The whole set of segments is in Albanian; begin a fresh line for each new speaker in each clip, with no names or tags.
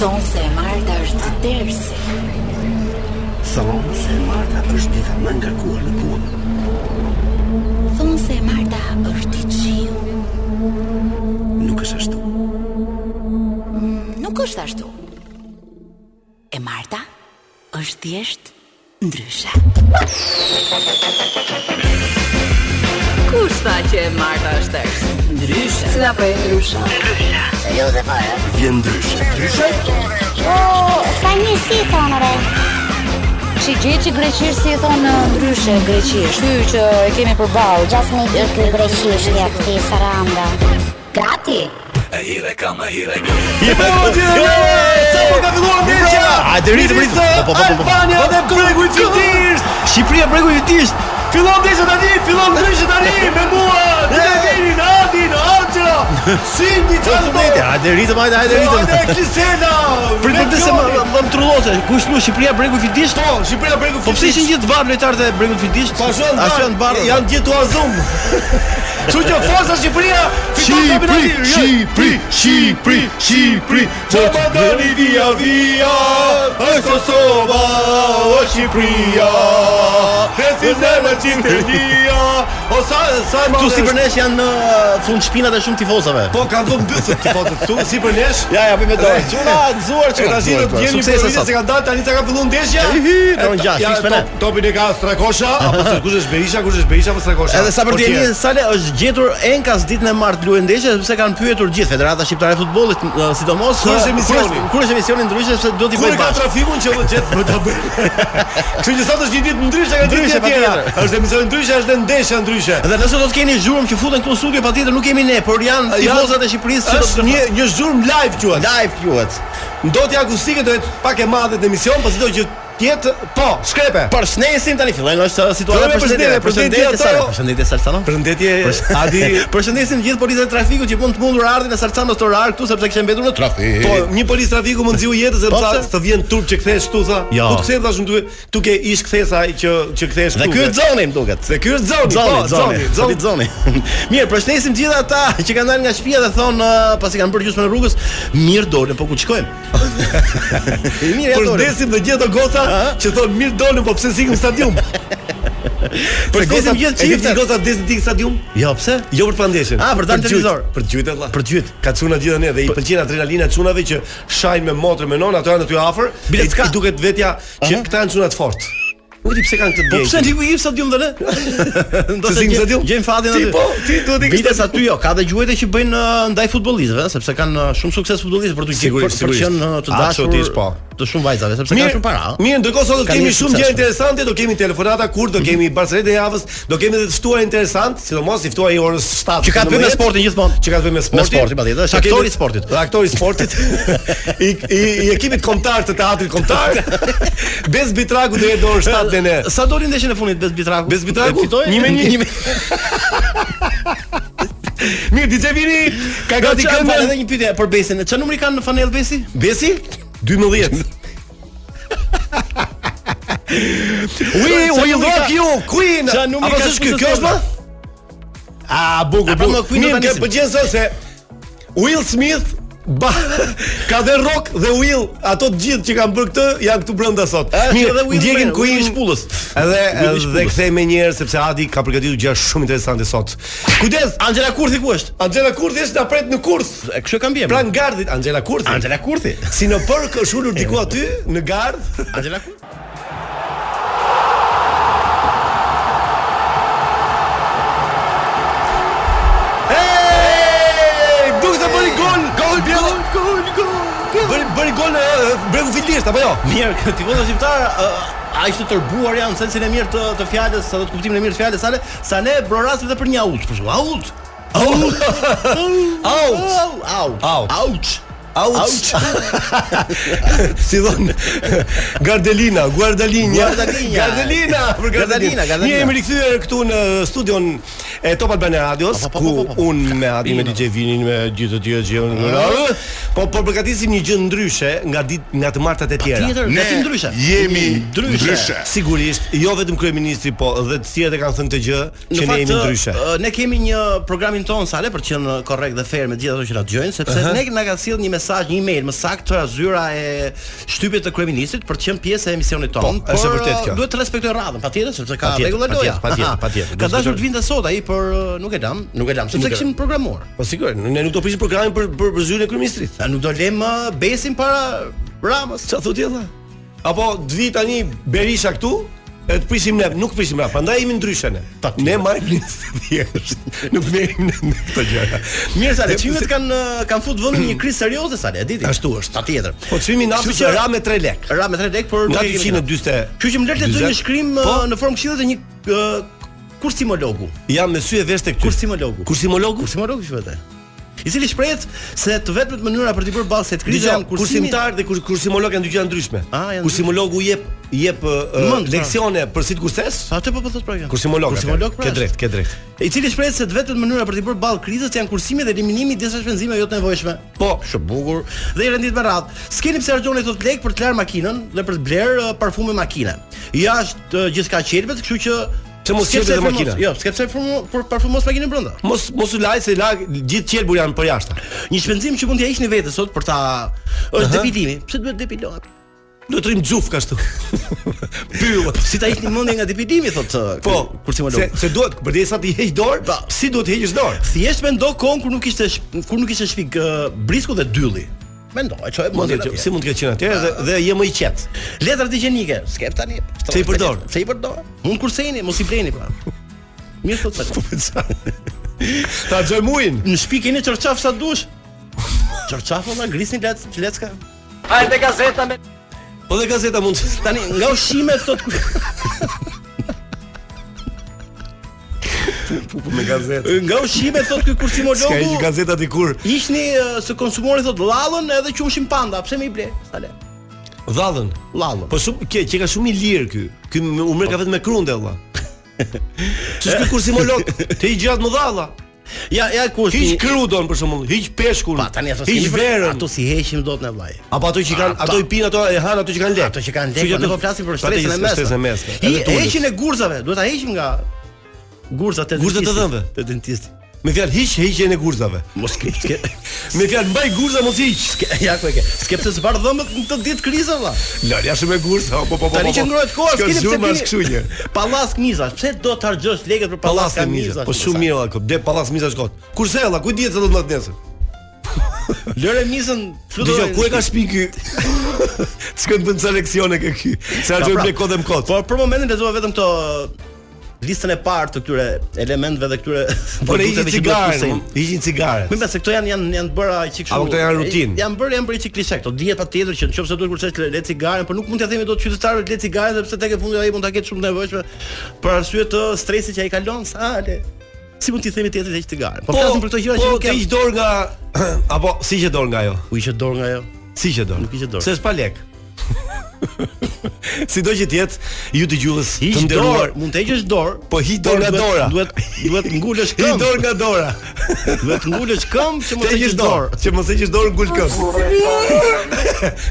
Thonë se e Marta është tërsi
Thonë se Marta është dita më ngarkuar në punë.
Thonë se e Marta është i qiu
Nuk është ashtu.
Nuk është ashtu E Marta është thjesht ndryshe
Kush tha që e Marta është tërës? Ndryshe. Si ta bëj ndryshe?
Vjen ndryshe. Ndryshe?
Ka një Po, si thonë re
Që gjë që greqisht si e thonë ndryshe greqisht. Ky që e kemi përballë.
Gjas me i ky greqisht ja këti saranda Gati
Je po ti dhe Sa po ka filluar ndeshja?
Hajde, rritë, rritë. Po, po, po, po, po.
Albania dhe bregu i
po.
fitisht.
Shqipëria bregu i tisht.
Fillon ndeshja tani, fillon ndeshja tani me mua. Delvinin, Adin, Arçra. Sindi çfarë?
Përshëndetje. Hajde, ritëm, hajde, hajde,
Hajde
ritëm.
Krisena.
Prit për të se më më trullose. Kush thua Shqipëria bregu i tisht?
Po, Shqipëria bregu
Po pse ishin gjithë barë lojtarët e bregut fitisht?
Po ashtu janë
Ashtu janë barë.
Janë gjithë u azum. Kështu që forca Shqipëria fiton kampionatin. Jo,
Shqipëri, Shqipëri.
Që më dëni via via E Kosova, o Shqipëria E si se më qimë lia O sa, sa e më
Tu si për nesh janë në fund shpinat e shumë tifozave.
Po, kanë dhëmë dësët të fotë këtu Si për nesh
Ja, po ja, bëjmë dorë.
Quna, nëzuar që Tashi do të gjeni një përvitje se ka dalë tani sa ka filluar ndeshja.
Ihi, tron
E,
gjash,
ja,
fiks me ne.
top- Topin e ka Strakosha, apo se kush është Berisha, kush është Berisha apo Strakosha.
Edhe sa për
Po,
të
tjerë.
jeni Sale është gjetur Enkas ditën e martë luajë ndeshje sepse kanë pyetur gjithë Federata Shqiptare e Futbollit, në- sidomos
Kur është
eh, kur
emisioni?
është- Kur është emisioni ndryshe sepse do t'i
Kur e
bëjmë
ka
bashkë.
trafikun që do të jetë më ta bëj. Kështu që sot është një ditë ndryshe nga ditë e
Ndryshe,
tjera.
patjetër.
Është emision ndryshe, është edhe ndeshja ndryshe.
Dhe nëse do të keni zhurmë që futen këtu në studio patjetër nuk kemi ne, por janë tifozat e Shqipërisë që do të
Është një një zhurm live quhet.
live quhet.
Ndotja akustike do jetë pak e madhe në emision, por sido që tjetë po, shkrepe.
Për shnesin tani fillojnë është situata
Fillojmë përshëndetje, përshëndetje,
Sale,
ato-
përshëndetje Salsano.
Përshëndetje Adi.
Përshëndesim gjithë policët e trafikut që mund të mundur ardhin e Salsanos të orar këtu sepse kishe mbetur në trafik.
Po, një polis trafiku mund ziu jetës sepse
Po,
sa
pse?
të vjen turp që kthehesh këtu tha.
Jo.
Ku të kthehet tash këtu? Tu ke ish kthesa që që kthehesh
Dhe
këtu.
ky është zoni më duket.
Dhe ky është zoni,
Zoni,
po,
zoni,
zoni.
zoni, zoni. Mirë, përshëndesim gjithë ata që kanë dalë nga shtëpia dhe thonë uh, pasi kanë bërë gjysmën e rrugës, mirë dolën, po ku shkojmë? mirë, ja dolën.
Përshëndesim dhe gjithë ato goca që thonë mirë dolën, po pse sikim në stadium?
Përshëndesim
gocat-
gjithë
e di ti
çiftet.
goca desin ti në stadium?
Jo, pse?
Jo për të pandeshën.
Ah, për të dalë
Për gjyt,
televizor.
Për gjytë valla.
Për gjyt.
Ka çuna gjithë ne dhe i pëlqen adrenalina e çunave që shajnë me motrë me non, ato janë aty afër.
Bile
i-
s'ka.
i Duket vetja që këta janë çuna të fortë. Nuk e di pse kanë këtë
Po
djegje.
pse ti ku i jep stadium dhe ne?
Se si në stadium?
Gjem fatin
Ti
aty.
po, ti duhet i ke
Vites
stadium.
aty jo, ka dhe gjuhëta që bëjnë uh, ndaj futbollistëve, ëh, sepse kanë uh, shumë sukses futbollistët për të gjetur
Sigurisht,
për të qenë uh,
sigurisht.
të dashur
Absolutisht, po.
të shumë vajzave, sepse kanë
Mirë,
shumë para. ëh.
mirë, ndërkohë sot do
Ka Mhm.
kemi
njerëz
shumë gjëra
suksesshëm.
interesante, do kemi telefonata kur, do kemi Barcelonë e javës, do kemi edhe të ftuar interesant, sidomos i ftuar i orës 7.
Që ka të bëjë me
11,
sportin gjithmonë.
Që ka të bëjë me sportin.
sportin, patjetër, është
Do kemi-
aktori i sportit.
Dhe aktori i sportit. I i, i ekipit kombëtar të teatrit kombëtar. Bez Bitraku deri në orën 7 dhe ne.
Sa doli ndeshjen e fundit Bez Bitraku?
Bez Bitraku?
E fitoi?
Një me një.
Një me-
Mirë, DJ Vini ka gati
Qa- falë po, Edhe
këngën.
një pyetje për Besin. Çfarë numri kanë në fanel Besi?
Besi 12. We
Çfarë
will
numri
rock
ka-
you Queen.
Çfarë numri
Apo
ka
s'është ky?
shkusës
Kjo është
tonë?
më? A bukur.
A, po,
bukur.
më Queen do ta
Mirë,
nisim.
më pëlqen sot se Will Smith ba, ka dhe rock dhe Will, ato të gjithë që kanë bërë këtë janë këtu brenda sot.
A, që edhe Will me-
ndjekim
Will
Queen
i shpullës.
Edhe
Will i
dhe
shpullës.
kthehemi një herë sepse Adi ka përgatitur gjëra shumë interesante sot. Kujdes,
Angela Kurthi ku është?
Angela Kurthi është na pret në Kurth.
E kështu e kam bjem.
Pra në gardit Angela Kurthi.
Angela Kurthi.
Si në përk është ulur diku aty në gardë.
Angela Kurthi.
Ej! Duke të bëri gol, gol, gol, gol, gol. Bëri bëri gol në bregu fillisht apo jo?
Mirë, këtë tifozë shqiptar a ishte tërbuar janë në sensin e mirë të, të fjalës, sa do të kuptimin e mirë të fjalës sale, sa ne brorasim edhe për një out, për shembull, out. Out. Out. Out.
Out.
Out.
Auç. si thon Gardelina, Guardalinja.
Guardalinja.
Gardelina, për Gardelina.
Gardelina, Gardelina.
Mirë, jemi rikthyer këtu në studion e Top Albania Radios,
Po, po, po,
ku
po, po, po.
un me Adi me DJ Vinin me gjithë të tjerë që janë. Po po përgatisim një gjë ndryshe nga ditë nga të martat e tjera.
Tjetër,
Ne
gatim ndryshe.
jemi ndryshe.
Sigurisht, jo vetëm kryeministri, po dhe të tjerët e kanë thënë këtë gjë që ne jemi
ë,
ndryshe.
ë, ne kemi një programin ton sale për të qenë korrekt dhe fair me gjithë ato që na dëgjojnë, sepse ne na ka sill një mesazh, një email më saktë tëra zyra e shtypjes të kryeministit për të qenë pjesë e emisionit ton.
Po, është e vërtetë kjo.
Duhet të respektojmë radhën, patjetër, sepse ka
Patjetër,
rregulla loja.
patjetër,
Aha.
patjetër, patjetër.
Ka
Duhet
dashur të
respektojmë.
vinte sot ai, por ë, nuk e lam, nuk e lam, sepse
Nuk e-
kishim programuar.
Po sigurisht, ne nuk do prisim programin për për, për zyrën e kryeministrit.
A nuk do lem ë, besin para Ramës.
Çfarë thotë edhe? Apo të vi tani Berisha këtu? E të prisim ne, nuk prisim ne, prandaj jemi ndryshe ne.
Patjetër.
Ne marrim listë thjesht. Nuk merrim ne me këto gjëra.
Mirë sa
Se-
çmimet
se-
kanë ë, kanë fut vendin në një krizë serioze sa le, e diti.
Ashtu është.
Patjetër.
Po çmimi i
Kështu
naftit
që-
ra me 3 lek.
Ra me 3 lek, por
Nga
nuk e kemi
240.
Kjo që më lërë të zëjë një shkrim
Po.
ë, në formë këshillë të një uh, ë, kursimologu.
Jam me sy e vesh tek ty.
Kursimologu.
Kursimologu?
Kursimologu që vetë. I cili shprehet se të vetmet mënyra për të bërë ballë se të krizë
Dgjoj,
janë kursimi.
kursimtar dhe kur- kursimolog janë dy gjëra ndryshme.
Ah, janë
Kursimologu jep jep ë, ë,
Mend, pra.
leksione për si të kurses.
Sa të po po thot pra kjo?
Kursimolog.
Kursimolog pra.
Ke drejt, ke drejt.
I cili shprehet se të vetmet mënyra për të bërë ballë krizës janë kursimi dhe eliminimi i disa shpenzime jo të nevojshme.
Po.
Shumë bukur. Dhe i rendit me radhë. S'keni pse harxhoni tot lek për të larë makinën dhe për të bler uh, parfume makine. Jashtë ë, gjithçka qelbet, kështu që
Pse mos
s'ke
qelbet dhe
parfumos-
makina?
Jo, s'ke pse parfumo- për parfumos makinën brenda.
Mos mos u laj se la gjithë qelbur janë për jashtë.
Një shpenzim që mund t'ja hiqni vetes sot për ta është depilimi. Pse duhet depilohet?
Do të rrim xhuf kështu. Pyll.
Si ta hiqni mendjen nga depilimi thotë.
Po, se
kursimolog.
se duhet përderisa ti heq dorë,
Po.
si duhet të heqësh dorë?
Thjesht mendo kohën kur nuk ishte shp- kur nuk ishte shpik ë, brisku dhe dylli. Mendo, e çoj
Mund
mendjen
të
atje.
si mund të ketë qenë atje dhe dhe je më i qet.
letrat higjienike, skep tani.
Pse i përdor?
Pse i përdor? Mund kurseni, mos i bleni pra. Mirë thotë
Po,
tani.
Ta xhoj muin.
Në shtëpi keni çorçaf sa dush. Çorçaf valla grisni lec lecka.
Po dhe gazeta mund të
Tani nga ushimet thotë
po me gazetë.
nga ushimet thotë ky
Ska hiq
kursimologu.
gazeta dikur.
Ishni ë, se konsumoni thot llallën edhe qumshin panda, pse më i ble? Sale.
Dhallën.
Llallën.
Po shumë ke që ka shumë i lirë ky. Ky më- u merr ka vetëm me krunde valla. Ç'është ky kursimolog? Te i gjatë më dhalla.
ja ja ku është
Hiq
një-
krudon për shembull, hiq peshkun.
Pa tani ato
hiq
s'kemi për-
verën.
Ato si heqim dot në vllaj.
Apo ato që kanë, ato i pinë ato e han Ah, ato që kanë lek.
Ato që kanë
Kështu
lekë, ne
ato-
po flasim për
ato
shtresën e mesme.
Shtresën e mesme.
I
Edhe tulës.
heqin e gurzave, duhet ta heqim nga gurzat e
Gurzat e
dentistit.
dhëmve?
Të dentistit.
Me fjalë hiq hiqjen e gurzave.
Mos ke. s'ke-
Me fjalë mbaj gurza mos hiq.
s'ke- Ja ku e ke. Skepse të zbar dhëmbët në këtë ditë kriza valla.
Lorja shumë e gurza, po po po.
Tani që ngrohet koha, s'keni pse
Kjo kështu një.
Pallas miza, pse do të harxhosh lekët për pallas
Pallas e miza.
miza?
Po shumë mirë valla, de pallas miza shkot. Kurse valla, ku dihet se do të mbahet nesër?
Lëre mizën, fluturoj
Dgjoj,
në
ku e ka
shtëpi.
shtëpi ky? S'ka të bën ca leksione ke ky. Se ajo
pra.
me kodë më kot.
Por për momentin lexova vetëm këto listën e parë të këtyre elementëve dhe këtyre
Po ne hiqin
produkteve që duhet
cigare,
kursejnë.
hiqin cigare.
Më besoj këto janë janë janë bëra që kështu.
Apo këto janë rutinë?
Janë bërë janë bërë që klishe këto. Dihet patjetër që nëse duhet kursesh le- le cigaren, por nuk mund t'ia themi dot qytetarëve le cigaren sepse tek e fundi ai mund ta ketë shumë të nevojshme për arsye të stresit që ai kalon sa le. Si mund t'i themi tjetrit le cigaren? Po flasim për këto gjëra që
po,
nuk
të hiq
kanë.
dorë nga apo si që dorë nga ajo?
U hiqë Po dorë nga ajo.
Si që dorë?
Nuk hiqet dorë.
Se s'pa lek. Sido që tjetë, ju dëgjues të
Hiq
nderuar,
dorë, mund të hiqësh dorë.
Po hiq dorë nga
duhet-
dora.
Duhet duhet ngulesh
Hiq
këmbë.
dorë nga dora.
Duhet ngulesh këmbë që mos
Te
të
hiqësh
hiqësh
dorë,
dorë.
që mos e hiqësh dorë ngul këmbë.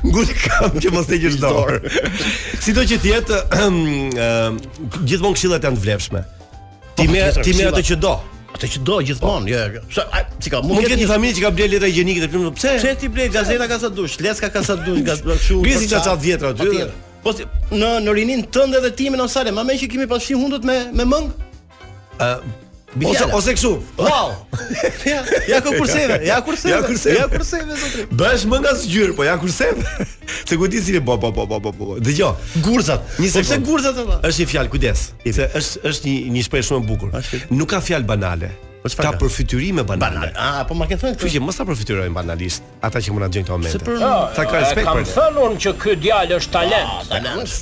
Ngul këmbë që mos e hiqësh dorë. Sido që tjetë, gjithmonë këshillat janë të vlefshme. Ti
Po,
merr
tjetër,
ti merr atë
këshillat.
që do.
Atë që do gjithmonë, jo. jo. Sa a, si ka,
Po. Mund të
ketë
ketë një
një-
familje që ka bler letra higjienike të plotë. Pse?
Pse ti ble gazeta ka sa dush, leska ka sa dush, gaz kështu.
Grisi
për
ka ca vjetra aty.
Patjetër. Po si- në në rinin tënd edhe timin osale, më më që kemi pasfshi hundët me me mëng. Ë
Ose ose kështu.
wow. ja, ja ku kurseve, ja kurseve.
Po. Ja kurseve.
Ja kurseve zotri.
Bësh më nga zgjyrë, po ja kurse. Se ku di si po po po po po po. Dgjoj.
Gurzat.
Një
Po pse
sekond.
gurzat ata?
Është një fjalë, kujdes. Se është është një një shprehje shumë e bukur.
Është-
Nuk ka fjalë banale.
Po çfarë
Ka
ka?
përfytyrime banale.
Ah, po ma ke thënë
Kështu
këtë.
që mos ta përfytyrojmë banalisht ata që mund na gjejnë këto
Se
momente.
për-
Sa ka respekt për. ne.
thënë unë që ky djalë është talent.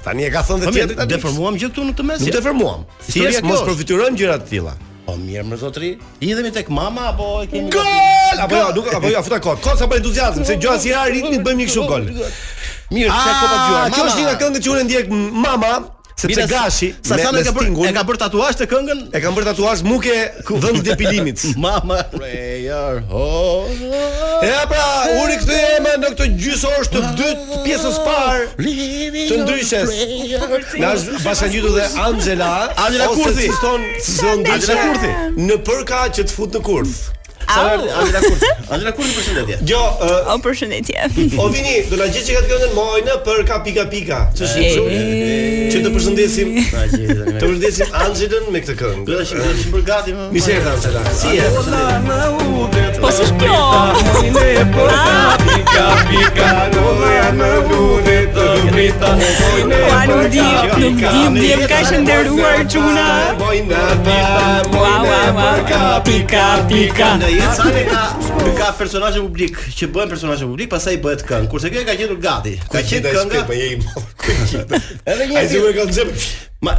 Tani e ka thënë
Po
dhe tjetri
mirë,
tani.
deformuam gjë këtu në këtë mes.
Nuk deformuam.
Historia
Thjesht
kjo
mos
është.
përfytyrojmë gjëra të tilla.
Po mirë më zotri. Hidhemi tek mama apo e kemi
Gol! Apo jo, nuk apo jo, futa kot. Kot sa për entuziazëm, se gjëra si ra ritmit bëjmë një kështu gol. Ah,
Mirë, çka kopa dëgjuar.
Kjo është një nga këngët që unë ndjek m- mama sepse
Bile,
gashi
sa sa
me,
e ka
me
bërë
stingun
e ka bërë tatuazh të këngën
e kanë bërë tatuazh muke vend depilimit.
Mama
Prayer ho. Ja pra, u rikthehemi në këtë gjysor të dytë të pjesës parë të ndryshes. Na është bashkangjitur dhe Angela,
Angela
ose
Kurthi.
si thon, si thon ndryshe,
Angela Kurthi.
Në përka që të fut në kurth.
Sa ardhi Angela Kurthi. Angela Kurthi përshëndetje.
Jo, uh,
O përshëndetje.
Odini, do na gjej që ka të këndën mojnë për ka pika pika. Ç'është kështu? Që të përshëndesim,
Na gjeti
të përshëndesim Angelën me këtë këngë.
Do të shihim për gati më.
Mirë se erdhe Angela. Si je?
Po si kjo? po Ua, nuk di, nuk di, ndjem ka shënderuar çuna. Ua, ua, ua, po pika, pika.
Në jetë sale ka ka personazhe publik që bëhen personazhe publik, pastaj bëhet këngë. Kurse kjo e ka gjetur gati. Ka qenë kënga.
Po je i madh.
Edhe një
Ai
herë.
zëvë ka nxjerr.
Ma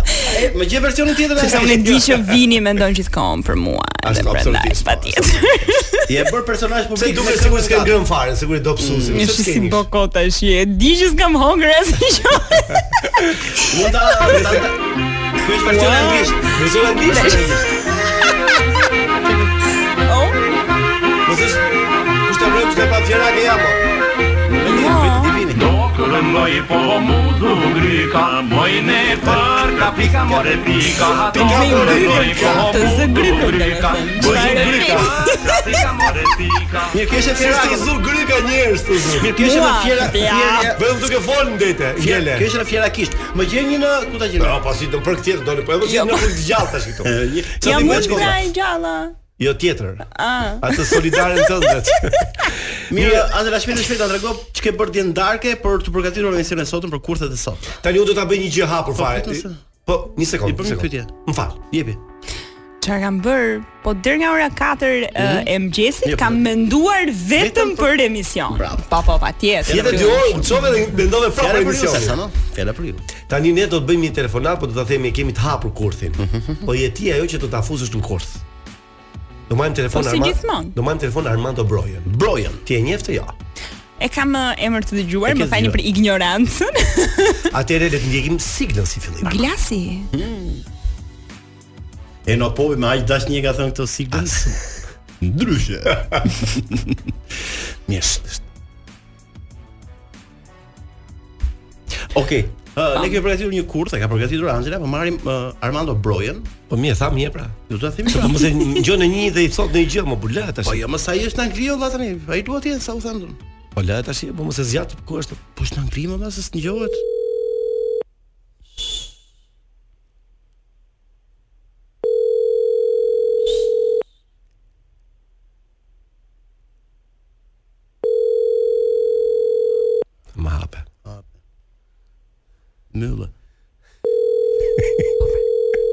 e, më gjej versionin tjetër.
Sepse unë e di që vini mendon gjithkohon për mua. Dhe
Ashtu,
prandaj,
absolutisht,
patjetër.
Je bërë personazh
Se
publik.
duket
me
sikur
këngën
s'ke
gati.
ngrën fare, sigurisht do psuesi.
Një
pse
shi Mm, si
s'keni?
boko tash je. Di që s'kam hongër asnjë gjë.
Mund ta mund ta- Ky është versioni anglisht.
Mëse na dish.
Oh,
Mëse kushta vjen kushta pa fjera ke jam. po.
Dokër moj po mu dhudrika Moj ne përka pika more pika
Pika more pika.
Të po, zëgrypën,
dhudrika
domethënë.
Moj
Çfarë
dhudrika Pika more pika
Mirë, kjo është e
Fjera
fjerake.
të zu gryka njerëz të zu.
Mirë, kjo është e
Mua,
fjera
ja.
fjera.
Vetëm duke fol ndete,
Fjele.
gjele.
Kjo është në fjerakisht. Më gjej një në ku ta gjej.
Po, po si të për këtë tjetër doli, po edhe si në fund të gjatë tash këtu.
Sa
jam
ti
unë
shkolla?
pra e gjalla.
Jo tjetër. Atë solidaren tëndet.
Mirë, Angela shpejt e shpejt ta trego ç'ke bërë dje darke për të përgatitur organizimin e sotëm për kurthet e sotme.
Tani unë do ta bëj një gjë hapur fare.
pyetën se-
Po, një sekondë.
I bëm një
sekondë.
pyetje.
M'fal.
Jepi.
Çfarë kam bër? Po deri nga ora 4 e mëngjesit
Jo, po.
kam menduar Mhm. vetëm për emision. Po po patjetër.
Jetë dy orë, u çove dhe mendove
Fjala
prapë
për ju,
emisionin.
Sasa, no? Fjala për ju.
Tani ne do të bëjmë një telefonat, po do ta themi e kemi të hapur kurthin. Po je ti ajo që do ta fuzësh në kurth. Do marrim telefon
Po si gjithmonë.
Armand. Do marrim telefon Armando Brojen.
Brojen.
Ti e njeh të jo.
E kam e, emër të dëgjuar,
E ke
më falni
dëgjuar.
për ignorancën.
Atëherë le të ndjekim siglën si fillim.
Glasi.
E no popi me aq dashni e ka thënë këtë siglën. Ndryshe. Mirë. s- Okej. ë, ne kemi përgatitur një kurth, e ka përgatitur Angela, po marrim ë, Armando Brojen.
Po mirë, tha mirë pra.
Do të themi
Po
pra.
mos e ngjon në një dhe i thot në një gjë, më bula tash.
Po jo, më sa i është në Angli valla tani. Ai duhet të jetë sa u them unë.
Po la tash, po mos e zgjat ku është.
Po është në Angli më valla se s'ngjohet.
Më hape.
Myllë.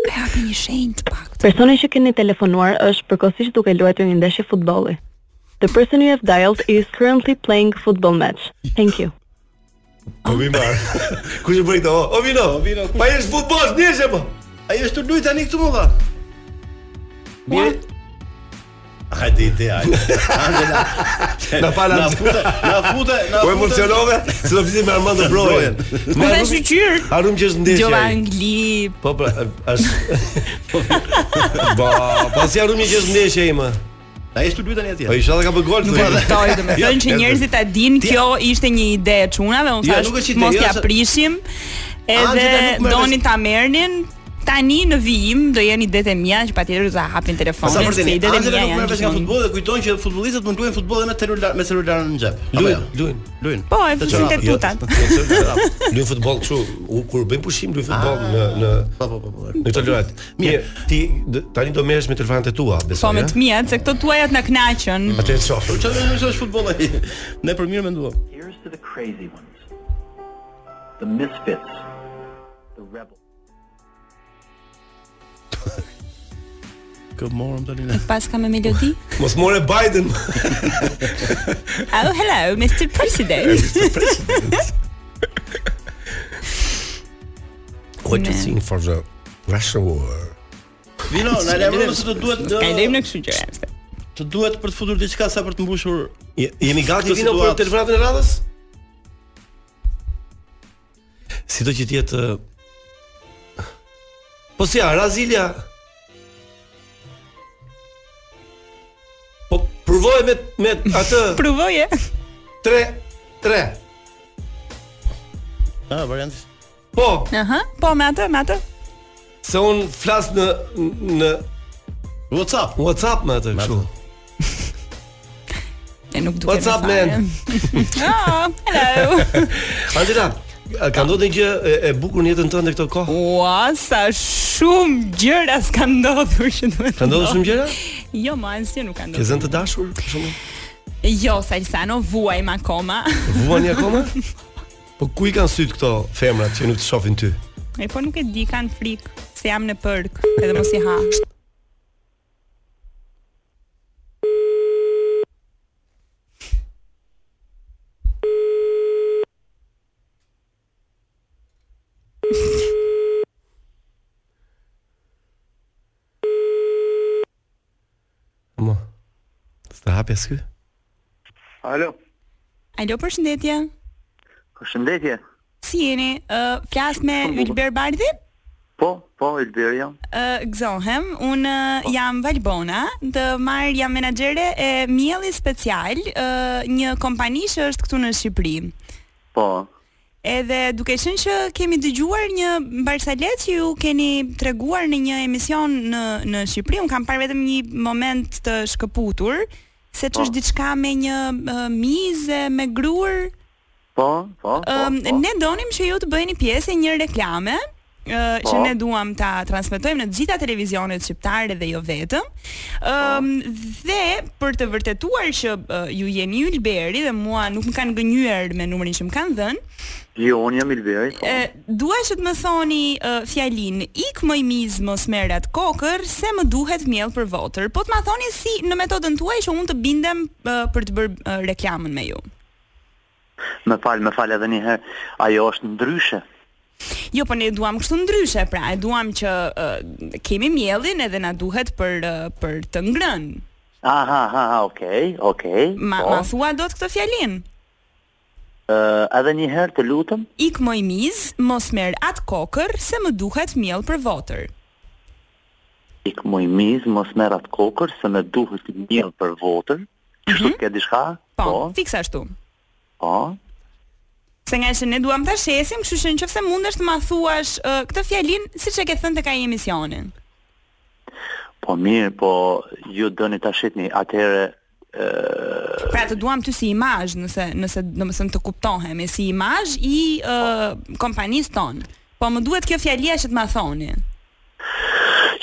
E hapi një shenjë të pak.
Personi që keni telefonuar është përkohësisht duke luajtur një ndeshje futbolli. The person you have dialed is currently playing a football match. Thank you.
Po mi Po, marr. Kush e bëri këtë? O, o vino, o vino. Pa jesh futboll, nisje po.
Ai është të luaj tani këtu më valla. Mirë. Hajde ide ai. Angela.
Na fal,
Na
Angela.
futa, na futa, na
Po
futa.
emocionove, se do flisim me Armando Brojen. Ne
Dhe
harrum-
shqyr.
Harrum që është ndeshje.
Gjova
ai.
Angli.
Po pra, është Ba, po si arrumi që është ndeshja ime.
Ai është të luaj tani atje.
Po isha dhe ka bërë gol
Nuk
thoi.
po kuptoj, domethënë që
Ja,
njerëzit ta dinë kjo ishte një ide e çunave, unë
Jo, nuk
thash
është ide,
mos
jo,
ja
se-
prishim. Edhe
Angela nuk merr
doni ta merrnin tani në vijim do jenë idetë mia që patjetër do ta hapin
Sa
telefonin,
për
se
tani,
idetë
Angela nuk
mia
merr
janë.
vesh nga
gjithmonë.
futbolli dhe kujton që futbollistët mund luajnë futboll edhe me celular me celularin në xhep. Apo
Luin,
jo?
luin.
Luin.
Po, e
Të
fusin
çorap,
te
jo.
tutat.
Luin futboll kështu, u kur bëjmë pushim luin futboll në në
Po po po. po.
në këtë lojë. Mirë, ti d- tani do merresh me telefonat e tua,
Po
besoj.
me të mia, se këto tuajat na knaqën.
Atë e shoh.
Po çfarë më është futbolli? Ne për mirë menduam.
Here's to the crazy ones The misfits The rebels
Kë morëm tani ne.
Pas ka me melodi.
eh? Mos more Biden.
Oh, hello, Mr. President.
What you
Ne.
think for the Russian war?
Vino, na lajmë se të duhet eh, të
Kalojmë në kështu gjëra.
të duhet për të futur diçka sa për të mbushur.
Je- Jemi gati
Këtë
vino për
situatë.
telefonatën e radhës? Sido që të jetë eh, Po si ja, Razilia. Po provoj me me atë.
Provoje.
3 3.
Ah, varianti.
Po.
Aha, po me atë, me atë.
Se un flas në në
WhatsApp.
WhatsApp me atë kështu.
E nuk duket.
WhatsApp man.
Oh, hello.
Angela, ka ndodhur një gjë e- e bukur në jetën tënde këto kohë?
Ua, sa shumë gjëra s'ka ndodhur që duhet.
Ka ndodhur shumë gjëra?
Jo, ma asgjë nuk ka
Ke
ndodhur.
zënë të dashur për shembull?
Jo, Salsano, vuajm akoma.
Vuani akoma? Po ku i kanë syt këto femrat që nuk të shohin ty?
E po nuk e di, kanë frikë se jam në përk, edhe mos i ha.
Mo. Sta hapë sky?
Alo,
Alo, përshëndetje.
përshëndetje.
Si jeni? Ë, flas me Ylber Bardhin?
Po, po, Elberi jam.
Ë, gëzohem. Unë ë, jam Valbona, të marr jam menaxhere e Mielli Special, ë, një kompani që është këtu në Shqipëri.
Po,
Edhe duke qenë që kemi dëgjuar një mbarsalet që ju keni treguar në një emision në në Shqipëri, un kam parë vetëm një moment të shkëputur se
Po.
ç'është diçka me një uh, mizë me grur.
po, po, po.
Ëm, ne donim që ju të bëheni pjesë e një reklame ë që
Po.
ne duam ta transmetojmë në të gjitha televizionet shqiptare dhe jo vetëm. Ëm dhe për të vërtetuar që ë, ju jeni Ylberi dhe mua nuk më kanë gënyer me numrin që më kanë dhënë,
Jo, unë jam Elberi. Po.
E, dua që të më thoni uh, fjalin ik më i miz mos merr atë kokër se më duhet mjell për votër. Po të më thoni si në metodën tuaj që unë të bindem ë, për të bërë ë, reklamën me ju.
Më fal, më fal edhe një herë. Ajo është ndryshe.
Jo, po ne duam kështu ndryshe, pra e duam që ë, kemi mjellin edhe na duhet për ë, për të ngrënë.
Aha, aha, aha, okay, okay.
Ma,
po.
ma thua dot këtë fjalin.
Ë, edhe një herë të lutem.
Ik më i miz, mos merr atë kokër se më duhet mjell për votër.
Ik më i miz, mos merr atë kokër se më duhet mjell për votën. Kështu ke diçka?
Po, fiksa ashtu.
Po.
Se nga që ne duam ta shesim, kështu që nëse mundesh të ma thuash uh, këtë fjalin siç e ke thënë tek ai emisioni.
Po mirë, po ju doni ta shitni. Atëherë
Pra të duam ty si imazh, nëse nëse domethënë të kuptohemi si imazh i uh, kompanisë tonë. Po më duhet kjo fjalia që të ma thoni.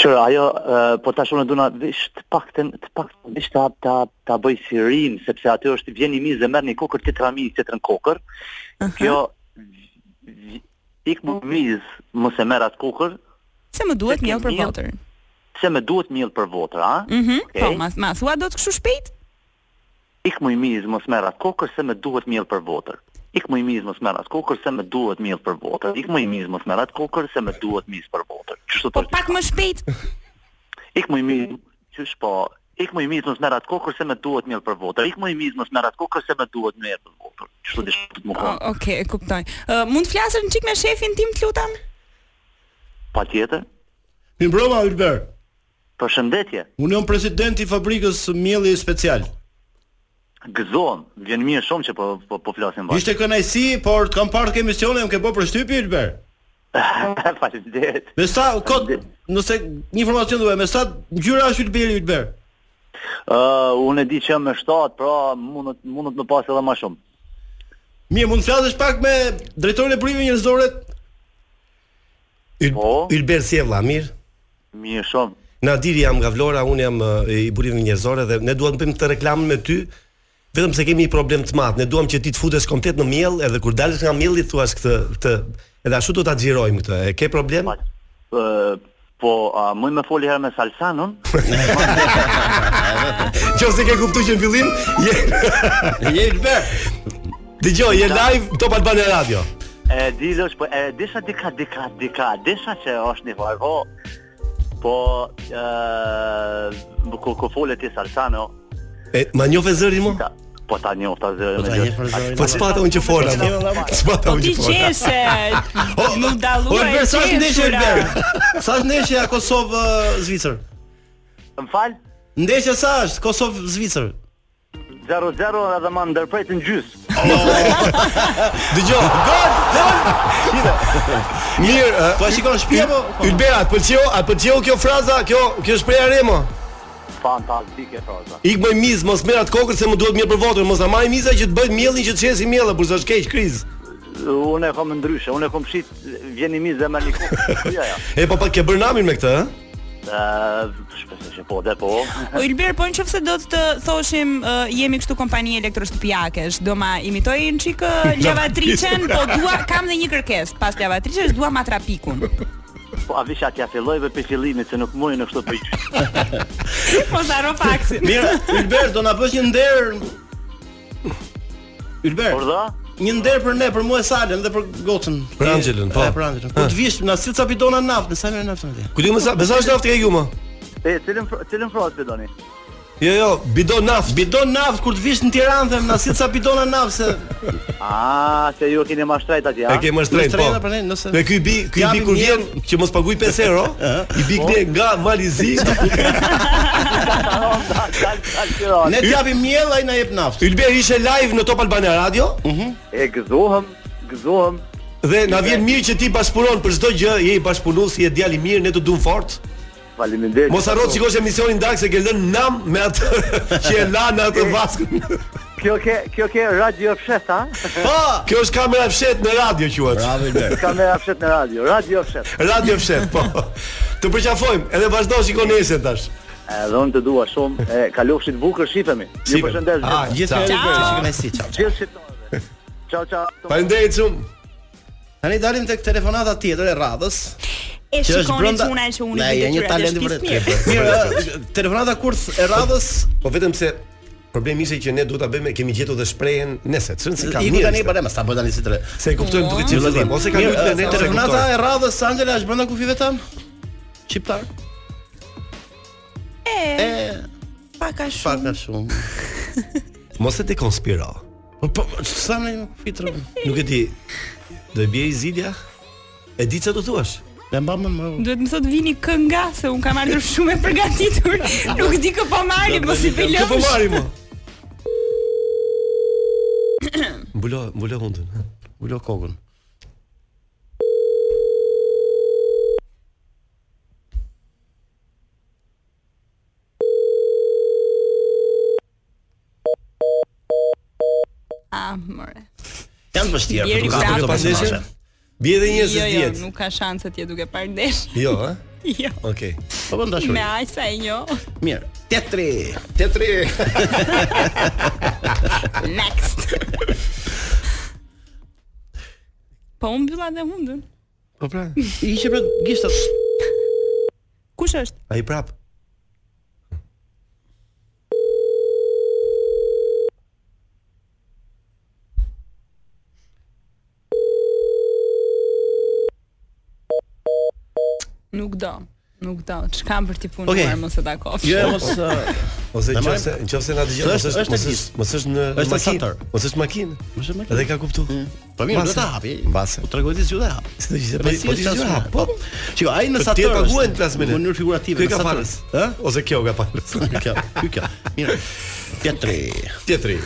Qërë, ajo, uh, po tash unë duna vish të paktën, të paktën vish ta ta ta bëj si rim, sepse aty është vjen i mizë dhe merr një kokër tjetër ami tjetër në kokër. Kjo vi- ik më mizë, mos e merr atë kokër,
Se më duhet
Se ke
mjell për
mjell?
votër.
se më duhet miell për votër, a?
Mhm. Po,
Okej.
ma ma thua dot kështu shpejt?
Ik më i mizë, mos merr atë kokër, se më duhet miell për votër. Ik më i mizë, mos merr atë kokër, se më duhet miell për votër. Ik më i mizë, mos merr atë kokër, se më duhet mizë për votër. Kështu
Po,
thotë.
Pak më shpejt.
Ik më i mirë, qysh po, ik më i mirë mos merr atë kokër se më duhet mirë për votër. Ik më i mirë mos merr atë kokër se më duhet mirë për votër. Çfarë dish të më
O,
kon?
Okej, e kuptoj. Uh, mund të flasësh një çik me shefin tim, të lutam?
Patjetër.
Mirëmbrëma Ylber.
Përshëndetje.
Unë jam presidenti i fabrikës Mielli Special.
Gëzon, vjen mirë shumë që po po, po flasim bash.
Ishte kënaqësi, por të kam parë këtë emisionin, më ke bërë përshtypje Ylber.
Faleminderit.
Me sa kot, nëse një informacion duhet, me sa ngjyra është Ylberi Ylber?
Ë, unë e di që jam me 7, pra mund mund të më pas edhe më shumë.
Mirë, mund të flasësh pak me drejtorin e burimit njerëzore?
Po,
Ylber si e vlla, mirë.
mirë shumë.
Nadiri jam nga Vlora, unë jam ë, i burimit njerëzore dhe ne duam të bëjmë këtë reklamën me ty, vetëm se kemi një problem të madh. Ne duam që ti të futesh komplet në miell, edhe kur dalësh nga mielli thuash këtë këtë edhe ashtu do ta xhirojmë këtë. E ke problem?
Ë, po, a më më foli herë me Salsanun?
Nëse Jo, ke kuptuar që në fillim je je Ylber. Dëgjoj, je live Top Albania Radio.
E di losh, po e disha dika dika dika, disha që është një farë, po po ë ku ku folet ti Salsano,
E ma njofe zërin mo?
po ta njofta zë.
Po ta njeh për zërin. Po s'pata unë që fola. S'pata
Po
unë
ti
që fola.
qeshe. Nuk
O
dalluaj.
Elber, sa është ndeshja
qeshura.
Elber? Sa është ndeshja Kosovë Zvicër?
Më fal?
Ndeshja sa është Kosovë Zvicër?
0-0 edhe më ndërprejt në gjys.
Dëgjoj.
Gol, gol.
Mirë, ë,
Po e shikon shtëpi apo?
Ylbera, eh, të pëlqeu, a të pëlqeu kjo fraza, kjo kjo shpreha Remo?
Fantastike fraza.
Ik më miz, mos merr atë kokën se më duhet mirë për votën, mos ta marr miza që të bëj miellin që të shesi miellë, por sa është keq kriz.
Unë e kam ndryshe, unë e kam shit vjen i mi zemër një kokë. Ja, ja.
E po pa ke bërë namin me këtë, ë?
Ë, shpresoj që po, dhe po.
O Ilber, po nëse do të thoshim ë, jemi kështu kompani elektroshtëpiakesh, do ma imitoj një çik ë, lavatricen, po dua kam dhe një kërkesë. Pas lavatriçes dua matrapikun.
Po a visha t'ja filloj për për fillimit se nuk mundi në kështu për gjys.
Po zaro faksin.
Mirë, Ylber, do na bësh një nder. Ylber.
Por dha?
Një nder për ne, për mua e Salën dhe për Gocën.
Për Angelën, po.
E, Për Angelën. Po të vish na sill ca bidona naftë, sa merr naftën atje?
Ku di më sa, besa është naftë ke ju më?
E cilën fr- cilën frazë të doni?
Jo, jo, bidon naftë.
Bidon naftë kur të vish në Tiranë them na sill ca bidona naftë se
A, se ju e keni mashtrajt atje, a?
E ke më
Në
shtrenjtë,
shtrenjtë,
po.
pra ne, nëse-
Me ky bi, ky bi
Japim
kur
mirë.
vjen që mos paguaj 5 euro, i bi këne nga Malizi.
ne t'japim miell ai na jep naftë.
Ylber ishte live në Top Albania Radio
E gëzohem, gëzohem.
dhe na vjen mirë që ti bashkëpunon për çdo gjë, je i bashkëpunues, je djalë i mirë, ne të duam fort.
Faleminderit.
Mos harro të shikosh emisionin Dark se ke lënë nam me atë që e la në
Po.
atë vaskën.
Kjo ke kjo ke radio fshet, a?
Po, kjo është kamera fshet në radio quhet.
Bravo Ylber.
Kamera fshet në radio, radio fshet.
Radio fshet, po. Të përqafojmë, edhe vazhdo shikon nesër tash.
Edhe unë të dua shumë, e kalofshit bukur, shifemi. Ju
Shifemi.
përshëndes
Ah,
Gjithë
Ciao.
gjithë.
Ylber, shikoj me si çao.
Gjithë shqiptarëve. Ciao ciao.
Faleminderit shumë.
Tani dalim tek telefonata tjetër e radhës.
E shikoni çuna që unë
Ne,
i
je një talent i
vërtet.
vërtet. Mirë, ë, telefonata kurth e radhës.
Po vetëm se problemi ishte që ne duhet ta bëjmë kemi gjetur dhe shprehen nesër. Çon se ka
Iku
mirë.
tani
ishte.
po ne, sa bëj tani si tre.
Se e kuptojmë duke
Mirë,
qenë vëllim, ose ka
mirë,
luajtur me
ë,
ne ose e
Telefonata
kuptojmë.
e radhës Angela është brenda kufive tan? Shqiptar.
E,
E
pak
pak a
a shumë.
shumë.
Mos e ti konspiro.
Po po sa më nuk fitro.
Nuk e di. Do e bie zilja? E di çfarë do thuash?
Ne mbam më.
Duhet më thot vini kënga se un kam ardhur shumë e përgatitur. Nuk di kë po marrim, mos i
Kë po
pelëm.
marrim mo? Mbulo, mbulo hundën. ha?
Ulo kokën.
Ah, more.
Janë të vështirë,
Jeri
po nuk ka
bravo.
ato personazhe.
Bie edhe një
Jo, jo,
10.
nuk ka shanse ti duke parë ndesh.
Jo, ha?
Jo.
Okej.
Po po ndashur.
Me aq sa e njoh.
Mirë. Tetri. Tetri.
Next. Po unë mbylla dhe hundën.
Po pra.
Ishte për gishtat.
Kush është?
Ai prap.
Nuk do. Nuk do. Çka për ti punuar
Okej.
mos e takoj.
Jo, mos ë,
Ose
Na marrim-
nëse nëse na dëgjon,
Së
mos
është-
është
është
mos
në
është mos është në
Është
makinë.
aksator.
Mos është makinë.
mos e më.
Edhe ka kuptuar.
Po mirë, do
Mbase.
ta hapi.
Mbase.
U tregoj ti s'ju dhe hap.
S'do gjë.
Po si
Po
është
ti
gjëra?
gjë.
Po. Shiko, ai në
Të
Saturn.
tjerë
është
paguhen plas me ne.
Në mënyrë figurative.
Ky ka
në Saturn.
falës. Ë? Ose kjo ka falës.
Ky kjo, ky kjo. Mirë. Tetri.
Tjetri.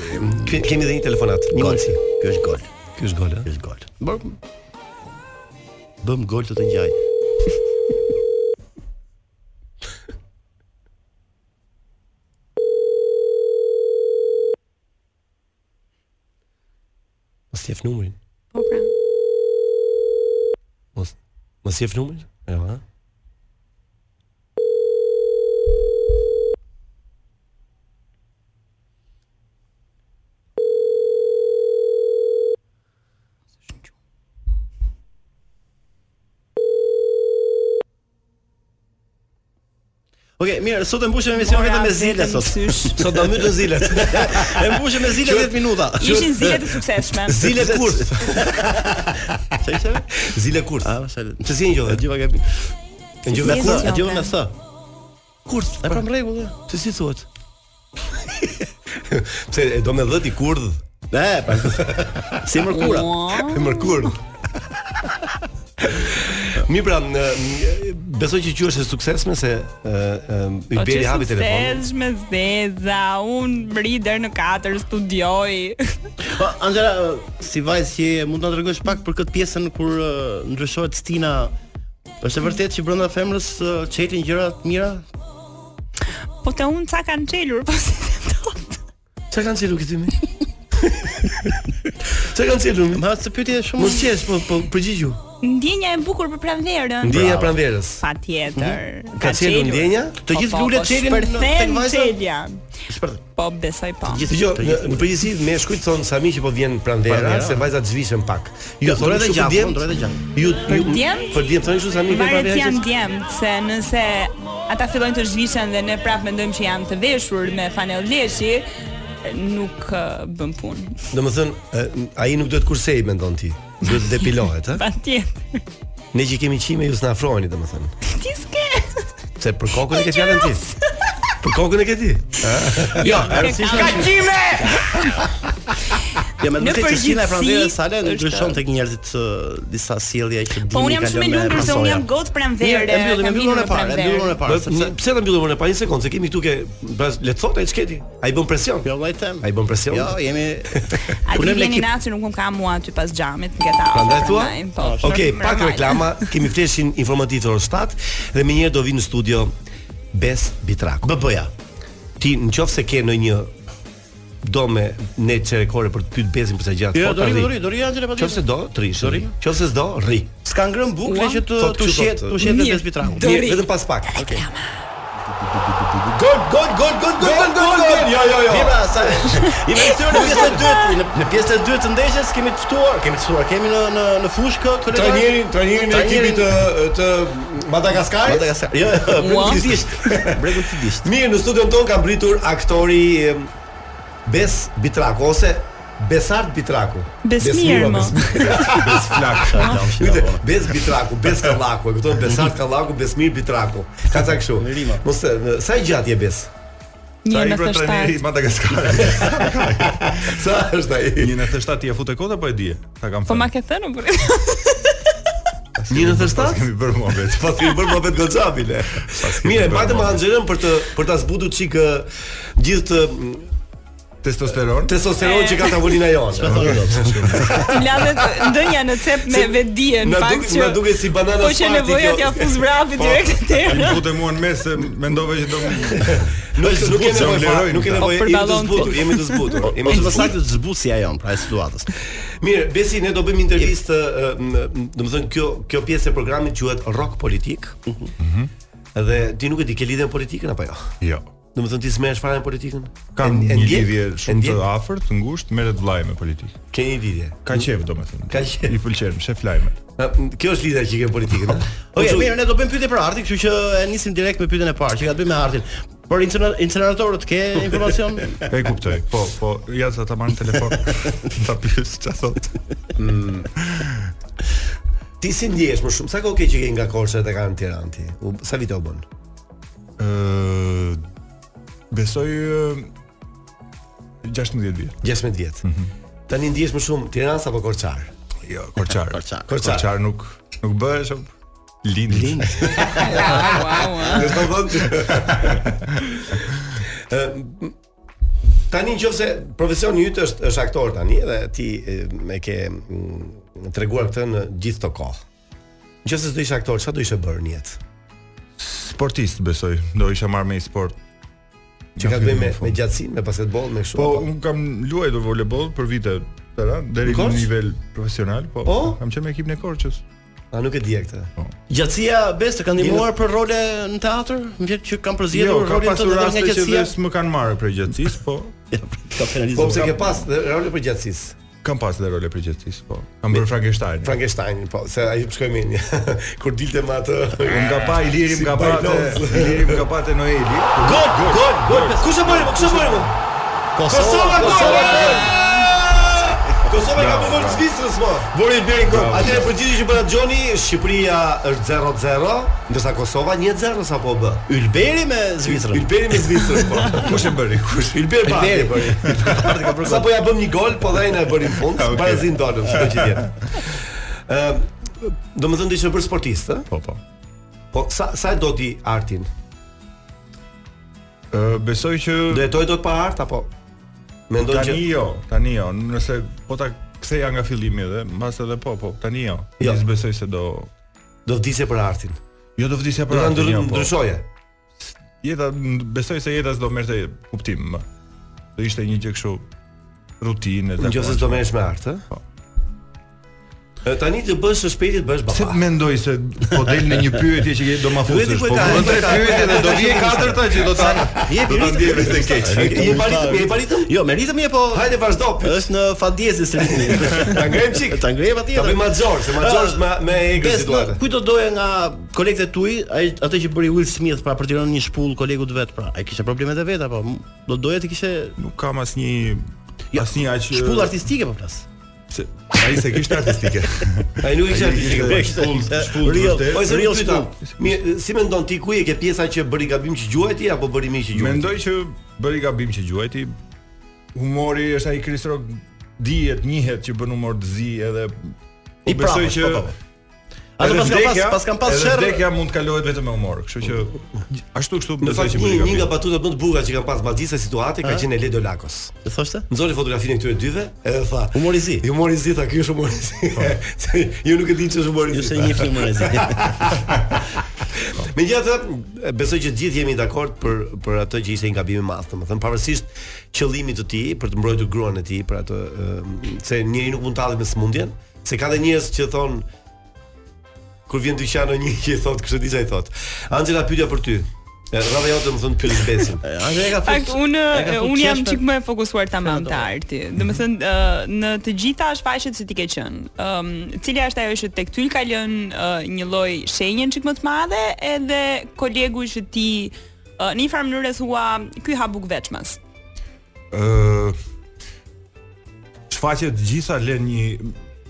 Ke- Kemi edhe një telefonat. Një
Gol.
mundsi.
Ky është gol.
Ky është gol,
Ky është gol. Bëm Bëm gol të të ngjaj.
Mos jep numrin.
Po pra.
Mos mos jep numrin? Jo, ha.
Okej, mirë, sot e mbushim emision
Mora
vetëm me
vetëm
zile sot.
sysh.
Sot do mbytën zilet.
E mbushim me zile 10 minuta.
Ishin zile të suksesshme.
Zile kurth.
Çfarë ishte?
Zile kurth.
Ah, sa.
Që si e ngjove?
E djova gabi.
E ngjove
Me
Si e
thë,
kurth.
e djova me thë.
Kurth.
E pam rregull.
Se si thuhet? Pse e do me 10 i kurdh?
Ne, pa. Si mërkura.
mërkur. Mi pra, në, në- besoj që qysh e suksesme se ë ë Yberi hapi telefonin.
Sesh me zdeza, unë mri deri në 4 studioj.
Po Angela, ë, si vajzë që je, mund të na tregosh pak për këtë pjesën kur ë, ndryshohet stina. Është e vërtetë që brenda femrës ë, çelin gjëra të mira?
Po te unë ca kanë çelur, po si
Çka kanë cilur këtu mi? Çka kanë cilur mi?
Ma se pyetje shumë.
Mos qesh, po po përgjigju.
ndjenja e bukur për pranverën.
Ndjenja e pranverës.
Patjetër. Po,
Ka qelur ndjenja? Të gjithë lulet çelin në- tek
tek
vajza?
çelja.
Shpërt.
Po besoj po.
Dgjoj, në përgjithësi me shkujt thon Sami që po vjen pranvera,
Pranvera.
se vajzat zhvishen pak.
Ja,
Ju
ndroj
thonë
edhe
kështu për
gjaku,
djem,
ndroj edhe gjaku.
Ju
Për
ju
djemt?
për djem thonë kështu Sami vjen
Varet
pranvera.
janë
që-
djemt, se nëse ata fillojnë të zhvishen dhe ne prapë mendojmë që janë të veshur me fanell leshi, nuk uh, bën punë.
Domethënë, e, ai nuk duhet kursej mendon ti. Duhet të depilohet, ha?
Patjetër.
Ne që kemi qime ju s'na afroheni domethënë.
Ti s'ke.
Se për kokën e ke fjalën ti. Për kokën e ke ti. Ha?
Jo,
e rëndësishme-
Ja, më
Në
duhet të stina e
përgjithësi,
pranverës sale
është-
ndryshon tek njerëzit ë, disa sjellje që dini.
Po unë jam
kalon
shumë e lumtur se unë
pasoja.
jam gocë pranverë.
Mirë, e mbyllim, e
kam
mbyllim
lindur
unë e parë, e
pranverë.
mbyllim unë e parë,
Po,
sepse
Pse ta mbyllim unë pa një sekondë, se kemi këtu ke bas le të thotë ai çketi. Ai bën presion.
Jo, vllai them.
Ai bën presion.
Jo, jemi
A ti
Punojmë në
vjen i
ekip.
natë që nuk më ka mua aty pas xhamit, nga ta.
Prandaj thua?
Po.
Okej, pak
normal.
reklama, kemi fleshin informativ të orës 7 dhe më njëherë do vi në studio Bes Bitraku. BB-ja. Ti nëse ke ndonjë do me ne çerekore për të pyet Besin për sa gjatë.
Jo,
po,
do
ta
ri,
rri.
do ri, do ri Angela patjetër.
Nëse do, të rish. Nëse s'do, rri.
S'ka ngrën bukë, le që të
Thotë
të
kështu,
shet,
thotë.
të shet
Mirë,
vetë bitraku.
Mirë, vetëm pas pak. Okej.
Gol, gol, gol, gol, gol, gol, gol, gol.
Jo, jo, jo.
Mira, sa. I vjen në pjesën e dytë, në- në pjesën e dytë të ndeshjes kemi të ftuar, kemi të ftuar, kemi në në në fushë kë kolegë.
Trajnerin, trajnerin e ekipit të të Madagaskarit.
Madagaskar. Jo, jo,
Ua.
bregultisht. Bregultisht.
Mirë, në studion ton ka mbritur aktori em, Bes Bitraku ose Besart Bitraku.
Besmir, mo.
Bes, bes flak. Ujte, Bes Bitraku, Bes Kallaku, e kupton Besart Kallaku, Besmir Bitraku. Ka ca kështu. Mos e, në- sa i gjatë je Bes?
Sa i bën trajneri i Madagaskarit.
Sa është ai?
197 i e futë kota apo e dije? Ta kam
Po
thënë.
ma ke thënë po.
97?
Pas kemi bërë mohabet.
Pas kemi bërë mohabet goxhapi le. Mirë, mbajtë me Anxhelën për të për ta zbutur çik ë, gjithë të, mm,
testosteron.
Testosteron që ka tavolina jonë.
Mladhe ndonja në cep me
Se
vetdije në
na
fakt
duk-
që
na duket si banana
Po që
Sparti,
nevoja
kjo.
t'ja fuz vrapi
Po,
direkt te.
Më futë mua në mes se mendove që do
Nuk
Është
nuk
zbutë,
kemi
se
nevojë
unë
fare,
leroj
nuk kemi
nga.
nevojë, jemi
O,
të
përballon
zbutur,
ti.
jemi të zbutur. Jemi
Ose më
të zbutur.
saktë zbutësia jon pra e situatës.
Mirë, besi ne do bëjmë intervistë, domethënë kjo kjo pjesë e programit quhet Rock Politik. Dhe ti nuk e di ke lidhje me politikën apo jo?
Jo.
Domethënë ti smesh fare me politikën?
Kam
E- e
një
ndjek?
lidhje
E
shumë të
ndjek?
afërt, të ngushtë, merret vllai me politikë.
Ke një lidhje.
Ka qejf domethënë.
Ka qejf.
I pëlqen, shef lajmet.
Na- Kjo është lidhja që i ke me politikën. Po, a?
Okej,
Kështu-
mirë, ne do bëjmë pyetje për Artin, kështu që e nisim direkt me pyetjen e parë, që ka të bëjë me Artin. Por incener- inceneratorët ke informacion?
E kuptoj. Po, po, ja sa ta marr në telefon. Ta pyes ç'a thot.
Ti si ndjehesh më shumë? Sa kohë ke që ke nga Korça te kanë në Tiranë ti? U, sa vite u bën?
Ë besoj ë, 16 vjet.
16 vjet. Tani ndjehesh më shumë Tiranë apo Korçar?
Jo, korçar.
Korçar.
Korçar nuk nuk bëhesh op. Lind. Lind.
Do të thonë. Ë, Tani në qoftë se profesioni yt është është aktor tani dhe ti e, me ke mm, treguar këtë në gjithë të kohë. Në qoftë se do ishe aktor, çfarë do ishe bërë në jetë?
Sportist besoj. Do isha marrë me i sport.
Që ka të bëjë me me
gjatë.
gjatësinë, me basketboll, me kështu.
Po,
apo?
un kam luajtur voleboll për vite tëra deri në
Korçë?
nivel profesional, po.
Po?
Kam qenë me ekipin e Korçës.
a nuk e di e këtë.
Gjatësia bes të kanë ndihmuar për role në teatr? Më vjen që kanë përzgjedhur
Jo, ka
rolin
pasur
tënd edhe nga
raste që
gjatësia.
vetë më kanë marrë për gjatësisë, po.
Ka penalizuar.
Po pse ke pas dhe role për gjatësisë?
Kam pas edhe role për gjatësisë, po. Kam bërë Frankenstein.
Frankenstein, po, se ai shkoi me një. kur dilte me atë.
Unë nga pa Iliri,
Si
nga pa
Pajlos.
Iliri, nga pa te Noeli.
Gol, gol, gol. Kush e bëri? Kush e bëri? Kosova, Kosova. Kosova i ka bërë gol Zvicrës po.
Vori bën gol.
Atëherë përgjigjesh që bëra Gjoni, Shqipëria është 0-0, ndërsa Kosova 1-0 sapo b.
Ylberi me Zvicrën.
po Ylberi me Zvicrën po.
Kush e bëri? Kush?
Ylberi pa.
Ylberi bëri.
Ka bërë sapo ja bëm një gol, po dhe ai na e bëri në fund,
Ah, okay.
Barazin dolëm çdo gjë tjetër. Ëm, domethënë do ishte për sportist, ë?
Po, po.
Po sa sa e do ti artin?
Ë, besoj që
Do jetoj dot pa art apo? Mendoj që
tani jo, tani jo, nëse po ta ktheja nga fillimi dhe mbas edhe po, po, tani jo.
Jo.
Unë besoj se do
do vdisje për artin.
jo do vdisja
Do
për
ta
atë.
ndrysh-
Jo, po.
ndryshoje.
Jeta m- besoj se jeta s'do merrte kuptim më. Do ishte një gjë kështu rutinë
Në qoftë se do merresh me art, ë?
Po.
E, Tani të bësh së shpejti të bësh
Se
baba.
mendoj se po del në një pyetje që do ma
Duhet i
fusësh, po
kujtaj,
do tre
kujtaj.
pyetje dhe do vije e katërta që do ta
Jepi
do ta
ritëm.
ndjeve të keq.
Je paritëm, je paritëm.
Jo, me ritëm je po.
Hajde vazhdo. pyet.
Është në fadjezë së ritmit.
Ta ngrem çik.
Ta ngrehem
Ta
atje.
bëj
Ah,
Maxor, se Maxor është me me egër
Bes,
situata.
kujt do doje nga kolegët e tuaj, ai atë që bëri Will Smith pra për të rënë një shpull kolegut vet pra. Ai kishte problemet e vet apo m- do doje të kishe
Nuk kam asnjë
Jo,
asnjë aq
shpull artistike po flas.
se- Ai se kishte artistike.
Ai nuk ishte artistik.
Ishte
po.
Shpull, shpull
Real.
vërtet.
Po se
real
real pyeta.
shpull.
Mirë, si mendon ti ku e ke pjesa që bëri gabim që gjuhet ti apo bëri mirë që gjuhet?
Mendoj që bëri gabim që gjuajti. Humori është ai krisrok dihet, njihet që bën humor të zi edhe
I
po besoj
prapësh,
që
po, po, po. Ato
edhe
pas kam pas
vdekja-
pas kam pas
edhe
sherr.
Vdekja mund të kalohet vetëm me humor, kështu që ashtu kështu
Në
besoj
fakt
që
një,
bëri
një nga
gabim.
batutat më të bukura që kanë pas magjisë situate ka qenë Ledo Lakos.
E thoshte?
Nxori fotografinë e këtyre dyve edhe tha
Humorizi.
Humorizi tha, ky është humorizi. Se ju nuk e dini ç'është humorizi.
Ju se një film rezi.
Megjithatë, besoj që të gjithë jemi dakord për për atë që ishte një gabim i madh, domethënë pavarësisht qëllimit të tij për të mbrojtur gruan e tij, për atë ë, se njeriu nuk mund të hallet me smundjen, se ka dhe njerëz që thon kur vjen dyqano një që i thot kështu diçka i thot. Angela pyetja për ty. E, Rradha jote më thon pyet Besin.
Ai e ka
Fakt,
fut.
unë
e ka fut
unë jam
qeshme. Mm.
çik më e fokusuar
Ja,
tamam
do.
te arti. Domethënë ë, në të gjitha shfaqjet që ti ke qenë. Ëm, cila është ajo që tek ty ka lënë ë, një lloj shenje çik më të madhe edhe kolegu që ti ë, në një farë mënyrë thua ky ha buk veçmas.
Ë Shfaqet të gjitha lën një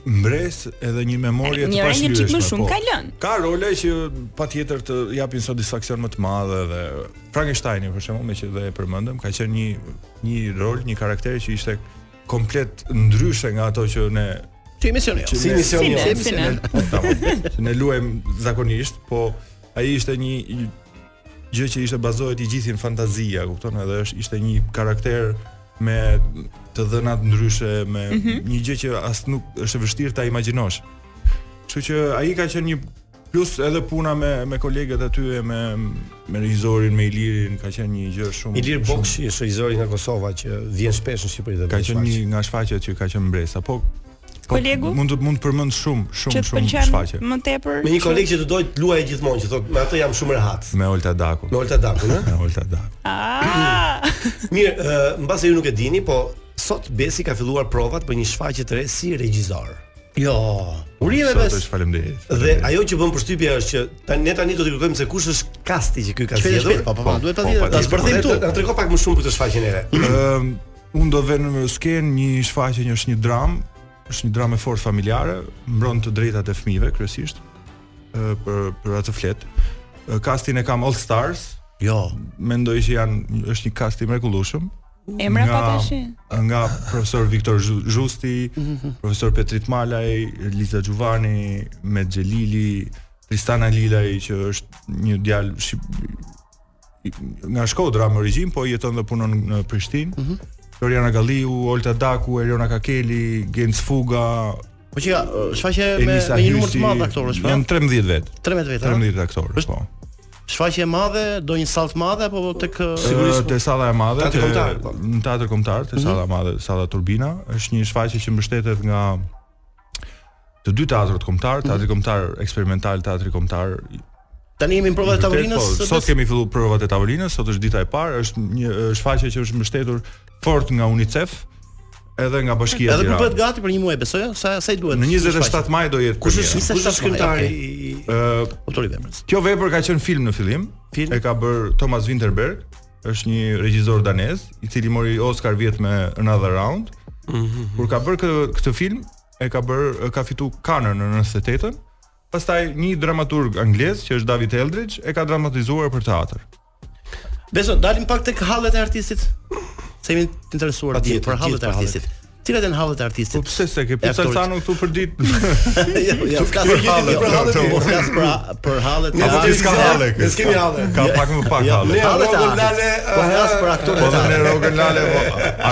mbres edhe një memorie të
Njëra një
pashlyeshme.
çik më shumë
po.
ka lënë.
Ka role që patjetër të japin satisfaksion më të madh dhe Frankensteini për shembull, me që dhe e përmendëm, ka qenë një një rol, një karakter që ishte komplet ndryshe nga ato që ne
Ti emisioni. jo.
Si misioni
Si ne,
jonë?
si ne.
tamam, që ne luajm zakonisht, po ai ishte një një gjë që ishte bazohet i gjithë në fantazia, kupton, edhe është ishte një karakter me të dhënat ndryshe, me
Mhm.
një gjë që as nuk është e vështirë ta imagjinosh. Kështu që ai ka qenë një plus edhe puna me me kolegët aty e me me regjisorin, me Ilirin, ka qenë një gjë shumë
Ilir
shumë-
Bokshi është regjizori nga Kosova që vjen shpesh në Shqipëri dhe
ka
bën
qenë një
shfaqje.
nga shfaqjet që ka qenë mbresa, po po
Kolegu?
mund të mund të përmend shumë
Që
shumë
të
shumë shfaqje.
pëlqen më tepër.
me një koleg që të dojë të luajë gjithmonë që thotë me atë jam shumë rehat.
Me Olta Dakun.
Me Olta Dakun, ë?
Me Pra, Olta Dakun.
Ah!
Mirë, ë, mbas se ju nuk e dini, po sot Besi ka filluar provat për një shfaqje të re si regjisor.
Jo. Urime
Sot
bes.
është faleminderit.
Dhe ajo që bën përshtypje është që tani ne tani do të kërkojmë se kush është kasti që ky ka
Shpejt, shpejt,
zgjedhur.
po po, po, duhet ta
po,
di.
po,
Ta
po,
zbërthejmë tu.
Na trego pak më shumë për të shfaqjen e re.
Ëm, unë do vënë në sken një shfaqje që është një dram, është një dramë fort familjare, mbron të drejtat e fëmijëve kryesisht ë, për për atë flet. Ë, Kastin e kam All Stars,
Jo.
mendoj që janë është një kast i mrekullueshëm.
Emra pa tash.
Nga profesor Viktor Zhu- Zhusti,
Mhm.
profesor Petrit Malaj, Liza Gjuvani, Med Gjelili, Tristana Lilaj që është një djalë shqip- nga Shkodra me origjinë, po jeton dhe punon në Prishtinë.
Mhm.
Floriana Galliu, Olta Daku, Eriona Kakeli, Gens Fuga,
Po që ka, shfaqje me me
Elisa
një numër të
Hyrsi.
madh aktorësh, po.
Janë 13 vetë.
13 vetë.
13 aktorë,
Është-
po.
Shfaqje e madhe, do një salt madhe apo tek
Sigurisht te salla e madhe,
Teatri
te-
kombëtar, po.
në teatr kombëtar, te salla e madhe, salla Turbina, është një shfaqje që mbështetet nga të dy teatrat kombëtar, teatri kombëtar eksperimental, teatri kombëtar.
tani jemi në provat e
Po,
tavolinës.
sot kemi filluar provat e tavolinës, sot është dita e parë, është një e, shfaqje që është mbështetur fort nga UNICEF edhe nga Bashkia e
Edhe kur
Tiranës.
bëhet gati për një muaj, besoj, sa sa i duhet.
Në 27 maj do jetë.
Kush
premiera.
është kush
27
është këngëtari?
maj,
i-
Ë,
autori veprës.
Kjo vepër ka qenë film në fillim.
Film?
E ka bër Thomas Winterberg, është një regjisor danez, i cili mori Oscar vjet me Another Round. Kur ka bërë këtë, këtë film, e ka bërë ka fitu Cannes në 98-ën. Pastaj një dramaturg anglez që është David Eldridge e ka dramatizuar për teatr.
Beso, dalim pak tek hallet e artistit. Se jemi të interesuar atje
Patjetër,
për hallet
gjithë
e
për hallet.
artistit. Cilat janë hallet e artistit? Po
pse se ke pyet Salsano këtu për ditë?
Jo, jo,
Tu
flas
ke
për
gjithë
hallet.
për hallet,
jo,
po.
Flas për për hallet.
Ne ti s'ka halle.
Ne s'kemi halle.
Ka pak më pak halle.
Ne rogën lale. Po flas për aktorët.
Po dhe ne rogën lale. po.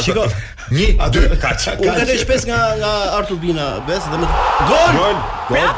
Shiko, 1 2 kaç.
Unë kaloj shpesh nga nga Artur Bina, bes dhe me gol. Gol. Gol.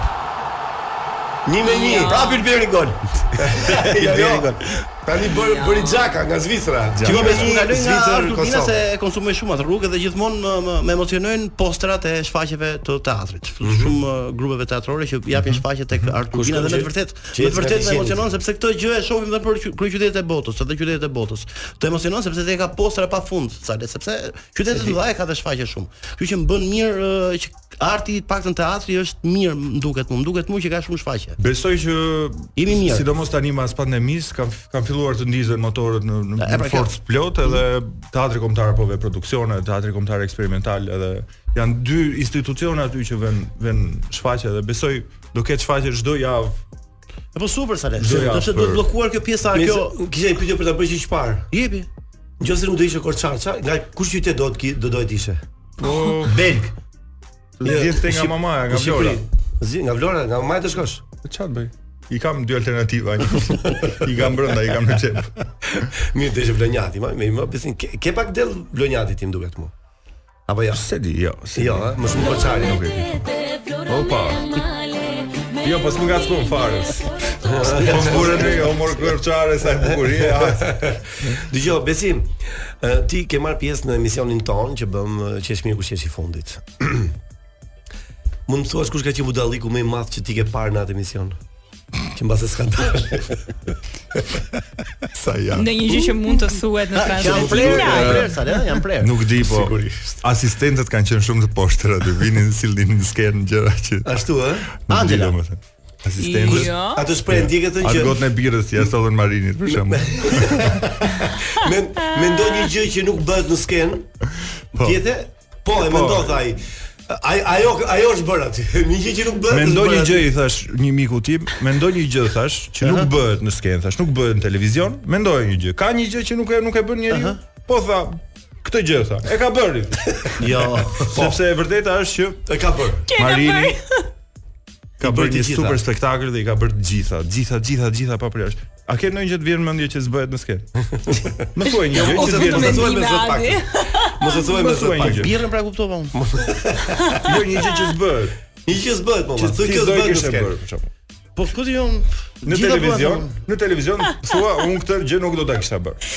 Një me një.
Prap Ylberi gol.
jo, jo.
Ylberi gol.
Tani bëri bëri Xhaka nga Zvicra.
Shiko me unë kaloj nga
Zvicër,
Artur Bina
Kosovë.
se e konsumoj shumë atë rrugë dhe gjithmonë më, më, më emocionojnë postrat e shfaqjeve të teatrit. Shumë uh, grupeve teatrore që japin shfaqje tek Artur
Mhm. Kush
Bina
ka
dhe me
qenë?
të vërtet,
Qenë
me të vërtet
nga
më
qenit.
emocionon sepse këtë gjë e shohim edhe për qy- kryeqytetet e botës, edhe qytetet e botës. Të emocionon sepse te ka postra pafund, sa le, sepse qytetet e mëdha e ka të shfaqje shumë. Kështu që më bën mirë uh, që arti i paktën teatri është mirë, më duket mua, më duket mua që ka shumë shfaqje.
Besoj që
jemi mirë.
Sidomos tani mas pandemisë kanë kanë filluar të ndizen motorët në, në,
E, pra,
në forcë plot edhe teatri kombëtar po ve produksione, teatri kombëtar eksperimental edhe janë dy institucione aty që vën vën shfaqje dhe besoj do ketë shfaqje çdo javë.
E po super sa le.
Çdo javë.
Do të
për-
bllokuar kjo pjesa
Nëse-
kjo.
kisha një pyetje për ta bërë që çfarë?
Jepi.
Nëse nuk do ishe Korçarça, nga kush qytet do të ki- do dohet ishe?
Po
Belg.
Zgjidhte nga mamaja, nga Vlora.
Zi nga Vlora, nga mamaja të shkosh.
Çfarë bëj? I kam dy alternativa. I kam brenda, i kam në xhep.
Mirë, deshe Vlonjati, ma, me më besin ke, ke pak del Vlonjati tim duket mua. Apo ja? Se
di, jo.
Se jo, ha, më shumë Korçari. Nuk e di.
Opa. Jo, po s'më gackon fare. Po mburën ne, o mor kërçare sa e bukurie.
Dgjoj, besim. ë, Ti ke marr pjesë në emisionin ton që bëm ë, qesh mirë kur qesh i fundit. Mund të thuash kush ka qenë budalliku më i madh që ti ke parë në atë emision? Që mbas e skandal.
Sa
Në një gjë që mund të thuhet në
Janë
transmetim.
prerë, janë prerë sa le, janë prerë.
Nuk di po. Asistentët kanë qenë shumë të poshtër aty, vinin sillnin në skenë gjëra që.
Ashtu ë?
Nuk di
Angela.
domethënë. Asistentët.
Jo. Ato shpreh ndjekët që-
Atë gotën e birrës ja sollën Marinit për shembull.
Me mendon një gjë që nuk bëhet në skenë. Po. Tjetë? Po, e
Po.
mendon thaj. Ai ajo ajo është bërë aty. Një gjë që nuk bëhet.
Mendoj
është
një
bërë
gjë
aty.
i thash një miku tim, mendoj një gjë thash që nuk bëhet në skenë, thash nuk bëhet në televizion, mendoj një gjë. Ka një gjë që nuk e nuk e bën njeriu. Po tha, këtë gjë tha. E ka bërë.
Jo,
sepse e vërteta është që
e ka bërë.
Ka Marini ka
I bëri
bërë
të
një
gjitha.
super spektakël dhe i ka bërë të gjitha, gjitha, gjitha, gjitha pa përjasht. A ke ndonjë gjë të vjen në mendje që s'bëhet në skenë? Më thuaj një gjë që të vjen në mendje. Mos e thuaj me zot pak.
Birrën pra e kuptova unë.
Jo një gjë që s'bëhet.
Një gjë s'bëhet, mama. Thuaj kjo s'bëhet në skenë.
Po shkoti jon
Në televizion, në televizion thua unë këtë gjë nuk do ta kisha bërë.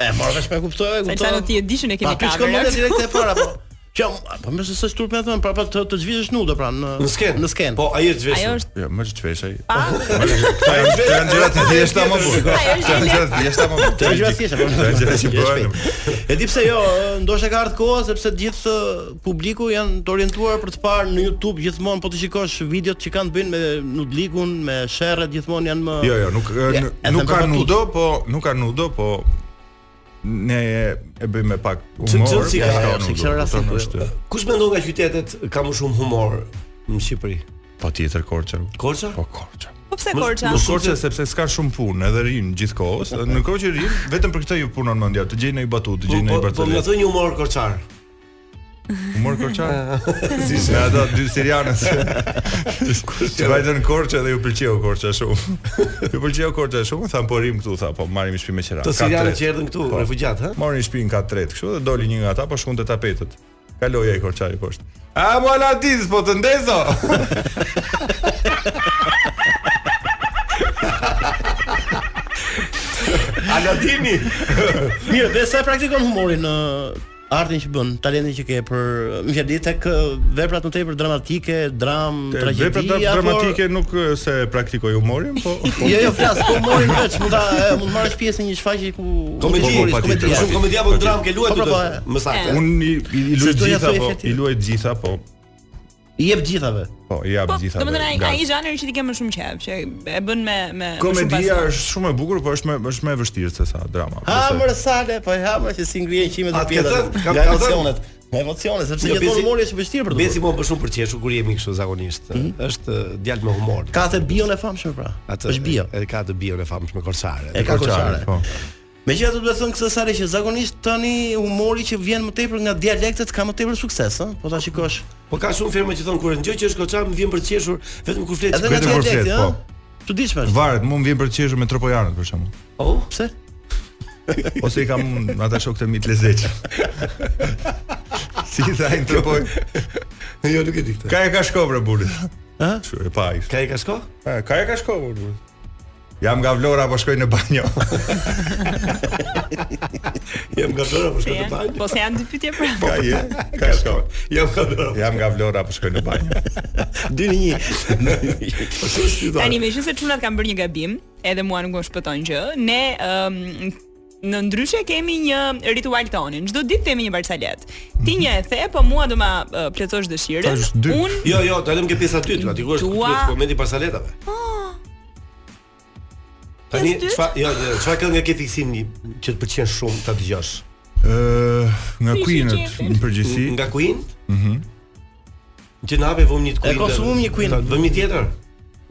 E morë vesh me kuptova, e kuptova.
Salsano, ti e di që ne kemi
Pa, ky shkon
kamerat.
mendja direkte e para, po. Që po më se s'është turp me thënë, pra pa të të zhvishesh nudo pra në
Në skenë.
Në skenë.
Po, ai është
zhveshur. Ajo është-
Jo, më është çveshaj. Këta janë këta janë gjëra të thjeshta më burr.
Ajo
Këta
është
janë gjëra të thjeshta më burr.
Të gjëra thjeshta, po.
Këta janë gjëra që bëhen.
E di pse jo, ë, ndoshta ka ardhur koha sepse gjithë ë, publiku janë të orientuar për të parë në YouTube gjithmonë po të shikosh videot që kanë të bëjnë me nudlikun, me sherrët gjithmonë janë më
Po.
Jo, jo, nuk
Ja,
n-
edhe
nuk
me
ka
batut.
nudo, po nuk ka nudo, po ne e bëjmë me pak
Çm-
humor.
çm- si
ja,
ka-
s'ka
ja,
nudo,
si kishte rastin,
kupton,
po,
është-
Kush mendon nga qytetet ka më shumë humor në Shqipëri?
Patjetër Korça.
Korça?
Po Korça.
Po pse Korça?
Po Korça sepse s'ka shumë punë, edhe rin
Po,
gjithkohës. Në kohë që rin, vetëm për këtë ju punon mendja, të gjejnë një batut, të gjejnë një
Po më
barcelet.
thoj një humor korçar.
Humor
Ah.
korçar. Si me ato dy sirianës. Që vajtën në Korçë dhe ju pëlqeu Korça shumë. Ju pëlqeu Korça shumë, thamë po rim këtu, tha, po marrim një shtëpi me qira. Po.
Të sirianët që erdhën këtu, refugjat, ha?
Morën një shtëpi në katë tretë, kështu dhe doli një nga ata, po shkonte tapetët. Kaloi ai Korçari poshtë. A mo Aladis, po të ndezo.
Aladini.
Mirë, dhe sa e praktikon humorin në artin që bën, talentin që ke për, më fjalë tek ë, veprat më tepër dramatike, dram, tragjedi.
Vepra dramatike nuk eh, se praktikoj humorin, po
Jo, jo, flas, po morin veç, mund ta e, mund marrësh pjesë në një shfaqje ku
Komedi, patjetër,
humoris, komedi.
patjetër. Shumë komedi apo dram ke luajtur
Po, po,
të-
po, e.
më saktë.
Unë i, i, i luaj
Se doja
gjitha,
thoj
po,
efekti.
i luaj gjitha, po.
I jep gjithave.
Po, i jap gjithave.
Domethënë ai
Gati.
ai zhanri që ti ke më shumë qejf, që e bën me me me
Komedia
shumë
është shumë e bukur, por është më është më e vështirë se sa drama.
Ha mërë sale, po e ha mërë që si ngrihen qimet e
Atë
pjetat.
thënë, kam-
Nga
kam
emocionet. Nga emocionet, sepse
Jo,
gjithmonë
besi-
humori është i vështirë për të.
Besi më shumë përqeshu kur jemi kështu zakonisht. Është eh, djalë me humor.
Mhm. Ka të bion e famshme pra.
Atë
Është bio.
E ka të bion e famshme korsare.
E ka korsare.
Po.
Megjithatë do të them këtë sare që zakonisht tani humori që vjen më tepër nga dialektet ka më tepër sukses, ëh? Po ta shikosh.
Po ka shumë firma që thon kur ndjoj që është koçar më vjen për të qeshur vetëm kur flet.
Edhe nga
vetëm kur flet,
dialekti,
po.
ëh? Çuditshme është.
Varet, mua më vjen për të qeshur me tropojanët për shembull.
Po,
Oh, pse?
Ose i kam unë ata shokët e mi të lezeq. si i thajnë tropoj.
Jo, nuk e di këtë.
Ka e ka shko bre bulit.
Ë?
Çu e pa ishte.
Ka e ka shko?
E, Ka e ka shko bre bulit. Jam nga Vlora apo shkoj në banjo.
Jam nga Vlora apo
Se janë- Po se janë dy pyetje pra.
Ka je, ka shko.
Jam nga Vlora.
Jam nga Vlora apo shkoj në banjo.
2-1.
Po shumë shtytar.
Tani me qenë se çunat kanë bërë një gabim, edhe mua nuk më shpëton gjë. Ne ëm në ndryshe kemi një ritual tonin. Çdo ditë kemi një barsalet. Ti një e the, po mua do ma uh, plotësh dëshirën.
Mhm. Tash dy.
Unë
Jo, jo, ta lëm ke pjesa e dytë, aty ku është
Dua-
ku është momenti pas saletave. Tani
Pjesë dytë?
çfarë jo, jo, çfarë këngë ke fiksim një që të pëlqen shumë ta dëgjosh?
Ë, nga
Fishi
Queenet
qefin.
në përgjithësi.
Nga Queen?
Mhm.
Që na hapë vëmë një të
E
Queen.
konsumum një Queen.
Vëmë një tjetër.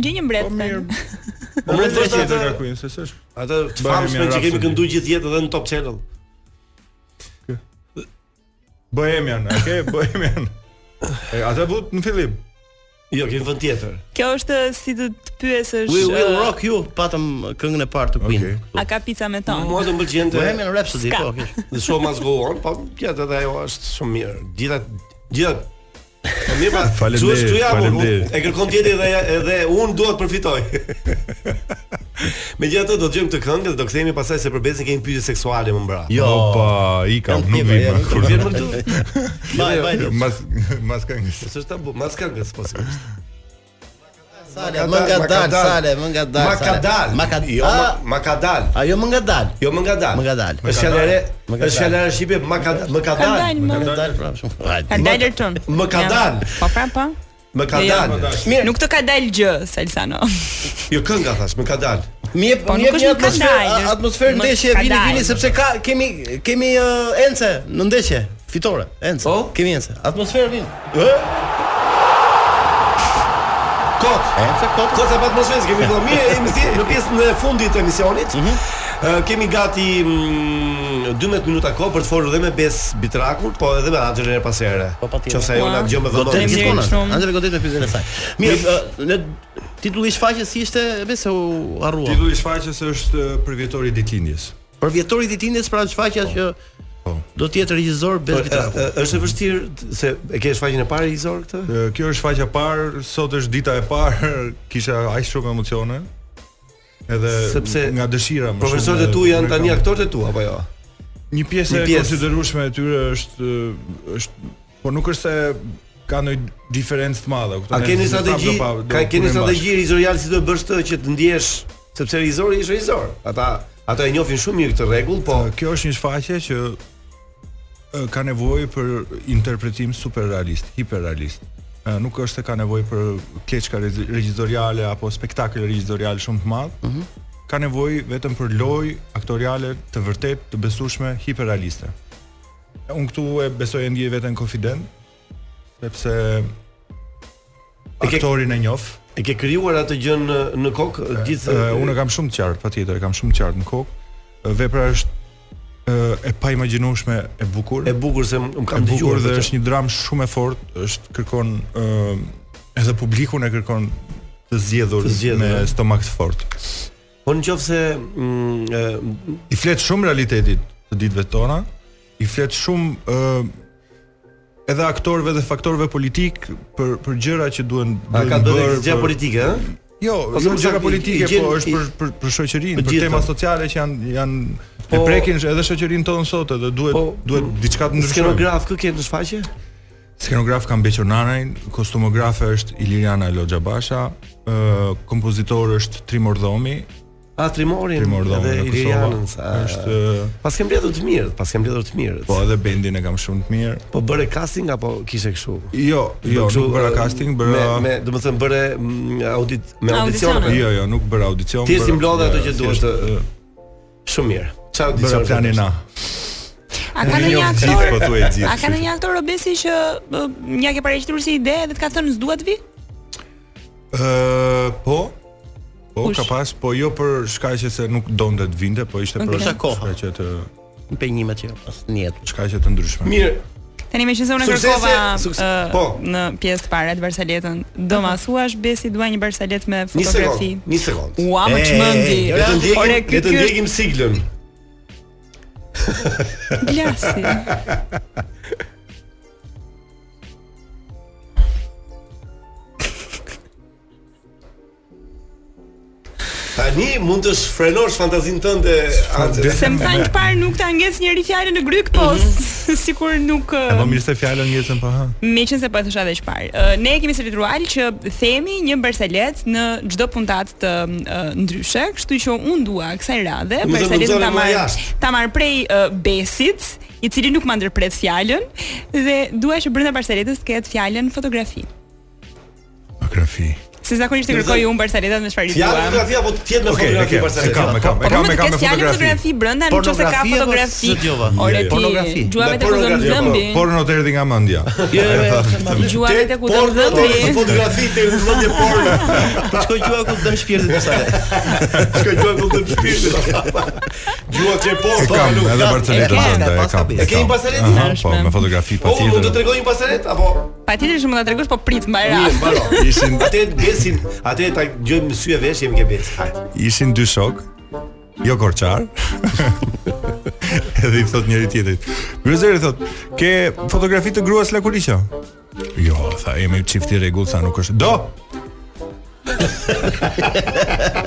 gjej një mbret. tani.
Po më
thosh
thosh
atë-
nga Queen se s'është.
Atë të
Bohemian
famshme që kemi
Rhapsody.
këndu gjithë jetën edhe në Top Channel.
Bohemian, okay, Bohemian. E, atë but në fillim.
Jo, kemi vënë tjetër.
Kjo është si të të pyesësh.
We will
ë,
rock you, patëm këngën e parë të Queen.
Okej.
A ka pica me
Mua
ton?
do m'pëlqente
Bohemian Rhapsody,
Ska.
po, kish.
The show must go on, po gjatë edhe ajo është shumë mirë. Gjitha gjitha Po mirë pra,
Faleminderit,
çu është ja unë
faleminderit.
e kërkon tjetër edhe edhe unë dua të përfitoj. Megjithatë do të dëgjojmë këtë këngë dhe do kthehemi pasaj se për Besin kemi pyetje seksuale më mbrapa.
Jo.
Opa, i kam,
Jam
nuk
tjeva,
vi
ja,
më
nuk
kur
Vjen më këtu.
Vaj, vaj.
Mas mas këngës.
Mos është tabu, mas këngës po sigurisht.
Sale, më nga
Ma ka
dal,
dal.
sale, më nga dal.
Ma ka
sale.
dal.
Ma ka
Jo, ma- ma ka dal.
Ajo më nga dal.
Jo më nga dal.
Ah! Më nga dal.
Është fjala e re,
Më ka
është
dal.
fjala e re shqipe, më ka më ka dal.
dal,
Më
më.
nga dal prapë pra, shumë.
Ka
Hajde.
dalë ton.
Më ka
Ja.
dalë.
Po pra po.
Më ka
Jo, jo.
dal.
Mirë.
Nuk të ka dalë gjë, Salsano.
Jo kënga thash, më ka dal.
Mi jep
Po,
mi
nuk
jep
është
një
nuk ka
atmosferë,
ndajë,
a- atmosferë
nuk
ndeshje
ka
vini
ndajë.
vini sepse ka kemi kemi uh, ence në ndeshje fitore, ence.
Po?
Kemi ence. Atmosferë vini. Ë?
Kot.
Ence kot.
Kot sa pat mos vjen, kemi vënë mirë jemi si- në pjesën e fundit të emisionit.
Mhm.
Ë, Kemi gati mm, 12 minuta kohë për të folur edhe me Bes Bitrakun, po edhe me Angela her pas here.
Po, patjetër.
Qofse ajo na dëgjon me
Do të
vëmendje.
Faleminderit
gjithmonë.
shumë.
Angela godet me pyetjen e saj. Mirë, ë, në titulli i shfaqjes si ishte, besoj u
Po.
harrua.
Titulli i shfaqjes është eh, për vjetori i ditëlindjes.
Për vjetorit i tindjes pra shfaqja që
Po.
do të jetë regjisor
Po,
Bes
ë,
Bitraku.
ë, Është e vështirë se e ke shfaqjen e parë i Zor këtë?
Eh, Kjo është shfaqja e parë, sot është dita e parë, kisha aq shumë emocione. Edhe
Sepse
nga dëshira më
Profesorët e
edhe
tu
me
janë tani
kam-
aktorët e tu apo jo?
Një pjesë
Një
e
pjesë.
konsiderueshme e tyre është është po nuk është se ka ndonjë diferencë të madhe. kupton?
A keni
Ne
strategji?
prapë do pa- do
Ka keni
punojmë
strategji rizorial si do bësh të që të ndjesh, sepse rizori është rizor. Ata ata e njohin shumë mirë këtë rregull, po
bashkë. Kjo është një shfaqje që e, ka nevojë për interpretim super realist, hiperrealist. E, Nuk është se ka nevojë për kleçka rezi- regjizoriale apo spektakël regjizorial shumë të madh. Ka nevojë vetëm për lojë aktoriale të vërtetë, të besueshme, hiperrealiste. Unë këtu e besoj e ndjej veten konfident, sepse
ke-
aktorin e njoh.
e ke krijuar atë gjë në në kokë gjithë
Ë, Eh, unë e kam shumë të qartë, patjetër, e kam shumë të qartë në kokë. Ë, Vepra është ë, e pa imagjinueshme e bukur.
e bukur se më
E
kam
bukur
dëgjuar
dhe është një dramë shumë e fortë, është kërkon ë edhe publikun e kërkon të zgjedhur,
Të zgjedhur, eh.
me
ëh.
stomak të fortë.
Po në qoftë se mm, e,
I flet shumë realitetit të ditëve tona, i flet shumë ë edhe aktorëve dhe faktorëve politik për për gjëra që duhen
a ka
duhen
bërë
bërë
gjë
për-
politike, ëh?
Jo,
Ose
jo
Po, më
gjëra
saktë, i-
politike,
i gjen-
po është
i-
për për për shoqërinë,
për
për
gjithë.
tema sociale që janë janë e
Po-
prekin edhe shoqërinë tonë sot edhe duhet
Po-
duhet diçka të ndryshojë.
Skenograf kë ke në shfaqje?
Skenograf kam Beqo Nanajn, kostumografe është Iliriana Loxha Basha, ë kompozitor është Trimor Dhomi,
A Trimorin
Trimor Dhomën
edhe
e Kosovës.
Ilirianën sa-
Është-
pas kem mbledhur të mirët, pas kem mbledhur të mirët.
Po edhe bendin e kam shumë të mirë.
Po bëre casting apo kishe kështu?
Jo, jo,
Kështu,
nuk bëra
eh,
casting, bëra-
me, me domethënë bëre mm, audit me
Audicione.
audicione.
Jo, jo, nuk bëra audicion,
Ti
bëra-
si mblodhe ato që
eh,
duhet
thjesht,
të shumë mirë. Çfarë
Bëra
audicione?
planin A.
A ka ndonjë
Njoft
aktor?
gjithë, po thuaj gjithë,
A ka
kështu
ndonjë aktor Robesi që ë, ja ke paraqitur si ide dhe të ka thënë s'dua të vi?
Ë, po. Po
Kush?
ka pas, po jo për shkaqe se nuk donte të vinte, po ishte për
Okej. Për
shkaqe të
penjimet që pas në jetë,
shkaqe të ndryshme.
Mirë.
Tani me që se unë e
Suksese,
kërkova
sukse-
ë,
po.
në pjesë të parë të Barsaletën. Do ma thuash Besi dua një Barsalet me
Një
fotografi.
sekond, një sekond.
Ua, më çmendi.
Le të ndjekim,
Ore,
le
ky
të
ky
ndjekim siglën.
Blasi.
Tani mund të shfrenosh fantazinë tënde. Anxel.
Se më thanë të parë nuk ta ngec njëri fjalën në gryk, po
Mhm.
s- sikur nuk uh, ë,
Po mirë se fjala ngjesën pa ha.
Me qenë se po e thësha edhe çfarë. Ë, Ne kemi si ritual që themi një bersalet në çdo puntat të ë, ndryshe, kështu që unë dua kësaj radhe
Domethënë,
bersaletën
do
ta
nxorrim nga
marr
jashtë.
ta marr prej ë, Besit, i cili nuk ma ndërpret fjalën dhe dua që brenda bersaletës të ketë fjalën fotografi.
Fotografi.
Se zakonisht e kërkoj unë bersaletat me çfarë i
Fjalë
dua.
fotografi apo të po tjetë me
Okej,
fotografi
e kem,
pastaj.
e kam, e kam, e
Po, po,
kam, e
më duket
kam me
Ketë fjalën
fotografi.
fotografi brenda, nëse ka
Pornografi apo
fotografi.
së djova?
Ore ti,
Pornografi. po.
gjuave të kuzon dhëmbin.
Por në erdhi nga mendja.
Jo, jo, jo,
Gjuave të kuzon dhëmbin.
të vëndje porno.
Shkoj gjua ku dëm shpirtin të saj.
Shkoj gjua ku dëm shpirtin. Gjua që porno.
E kam,
nuk
edhe
kam.
Barceletën
E kam.
tënde, e kam.
E kemi
kam.
Barceletën?
Aha, Po,
Arshme.
me fotografi
Po, mund të
patjetër.
tregoj një barsalet apo
Patjetër që mund ta tregosh, po prit mbaj
mirë,
rast.
baro. Ishin atë besin, atë ta gjojmë sy e vesh jemi ke bes. Hajde.
Ishin dy shok, jo korçar. Edhe i thot njëri tjetrit. Gryzeri thot, "Ke fotografi të gruas Lakuriqa?" Jo, tha, jemi çifti rregull, tha, nuk është. Do.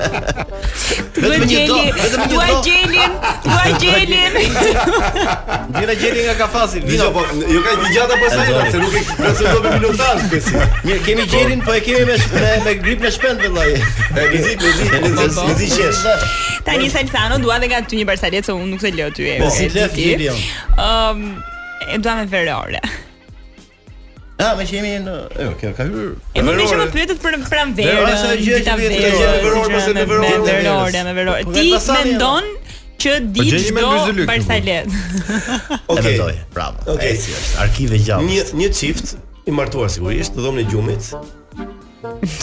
Dua
Vetëm një do,
gjeli,
vetëm një
dua
do.
gjelin, dua gjelin.
Gjëra gjeli nga kafasi.
Dino, po, jo ka të gjata barsalet, se nuk e plotësoj me minutazh besi.
Mirë, kemi gjelin, po e kemi me me, me grip në shpend vëllai.
E gëzit, gëzit, gëzit, gëzit qesh.
Tani Salsano dua dhe nga ty një barsalet se unë nuk të lë ty. e-
Po,
e
si
ti
lef
ti.
gjeli jam.
Ëm, e dua me verore.
Ah, më që jemi në, e, kjo ka hyrë.
E më më që më pyetet për pranverë,
Verore, është gjë
dita
që vjetë,
verë,
gjë me verore,
gjëra
pas e me
me
verore,
me
me
verore,
verës.
me verore.
Po,
Ti
vetë Basani,
mendon që
gjeni
di
Po, me
çdo
Lyzylyk,
barsalet.
E
Okej.
mendoj, bravo.
Okej.
E, si është, arkive gjallë.
Një një çift i martuar sigurisht, në dhomën e gjumit.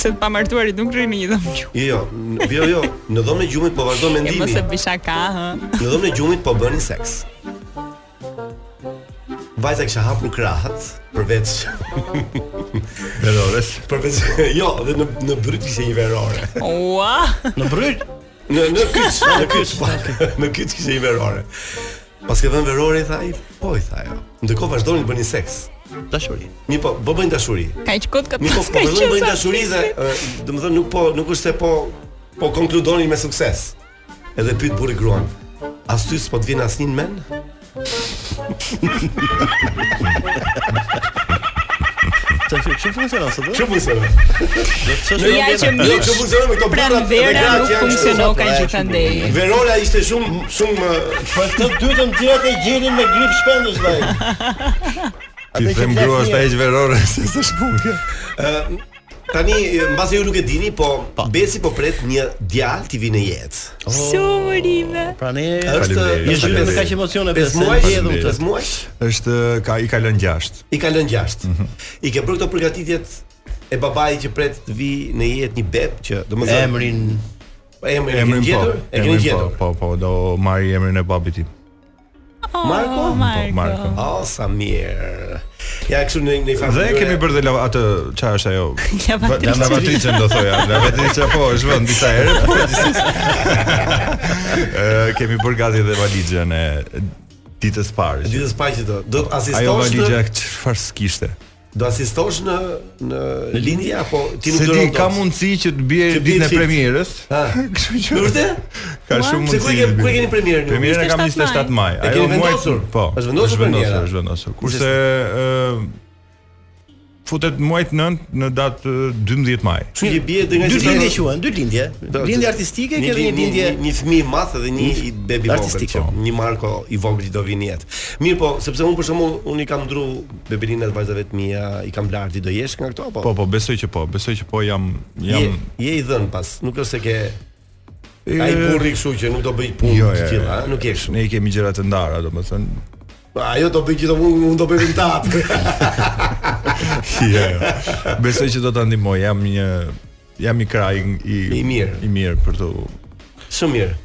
Se të pamartuarit nuk rrimë një dhomë gjumë.
Jo, jo, n- jo, jo, në dhomën e gjumit po vazhdon
E mos
mendimi.
e bëj shaka, hë.
Në dhomën e gjumit po bënin seks. Vajza kisha hapur krahët përveç verores. Përveç jo, dhe në në bryt kishte një verore.
Ua!
Në bryt?
Në në kyç, në kyç. po. në kyç kishte një verore. Pas ke vënë verore i tha ai, po i tha ajo. Ndërkohë vazhdonin të bënin seks.
Dashuri.
Mi po, bë bëjnë dashuri.
Ka që kot ka
Mi po,
pas
po
ka
vëllai
qenë
bëjnë
sa
dashuri dhe ë, domethënë nuk po nuk është se po po konkludonin me sukses. Edhe pyet burri gruan. As ty s'po të vjen asnjë në mend?
Të që që funksionon sot?
po
Çu funksionon?
Ja
Jo,
që miq,
që funksionon me këto
pran
burrat
Pra, vera
dhe gratë
nuk
që janë
funksionon
kështu,
ka
po,
që
e,
kanë dej.
Verola ishte shumë shumë ë,
Po të dytën tjetër e gjelin me grip shpendës vëllai.
Ti
Atë që
them
flet
gruas ta
mirë.
heq verore se s'është punë kjo.
ë, tani ë, mbasi ju nuk e dini, po Besi po pret një djalë t'i vinë në jetë.
Shumërime.
Pra ne
Është
Faleminderit,
një zhytet me
faleminderit.
kaq emocione
Pesë
besoj.
muaj,
Hedhum të.
pesë muaj,
Është ka i ka lënë gjashtë.
i ka lënë gjashtë. I ke bërë këto përgatitjet e babait që pret të vi në jetë një beb që domethënë
Emrin
emrin e
Emrin
keni
po.
gjetur? E
emrin
keni
po,
gjetur.
Po, po, do marri emrin e babit tim.
Oh,
Oh, Marko?
Po, Marko.
Oh, sa mirë. Ja kështu në në
Dhe
familje.
kemi bërë dhe lava, atë çfarë është ajo?
Lavatrice.
Lava- Lavatrice do thoja. Lavatrice po, është vend disa herë. po, gjithsesi. Ë kemi bërë gati dhe valizhën e ditës së parë. që-
Ditës paqe do. Do të
Ajo
asistosh në-
valizha çfarë s'kishte?
Do asistosh në në lindje apo ti nuk
Se
do
ti
rrotot?
ka mundësi që të bie
Që bie
ditën e
fix.
premierës.
Ha.
Kështu që
Në vërtet?
ka shumë
Se
mundësi.
ku e keni- ku e keni premierën ju?
Premierën e kam
27
27 maj.
E keni vendosur?
Po.
Është vendosur
është vendosur,
premiera?
është vendosur. Kurse ë futet muajt 9 në datë eh, 12 maj.
Kështu që bie dhe nga
Dy
që-
lindje quhen, dy lindje. Lindje artistike,
Një
kjo dhe një
lin-
lindje
një fëmijë i madh dhe një i bebi i vogël.
Artistike.
po, Një Marko i vogël që do vinë jetë. Mirë po, sepse unë për shembull unë i kam ndru bebelinat vajzave të mia, i kam lartë, ti do jesh nga këto apo?
Po, po, besoj që po, besoj që po jam jam
Je, je i dhën pas, nuk është se ke Ai burri kështu që nuk do bëj punë
jo,
të
jo,
tilla,
jo.
a? nuk jesh.
Ne i kemi gjëra të ndara, domethënë.
Ajo do bëj gjithmonë unë do bëj vintat.
Jo, jo. Besoj që do ta ndihmoj. Jam një jam i kraj i
I mirë.
i mirë për tu.
Shumë mirë.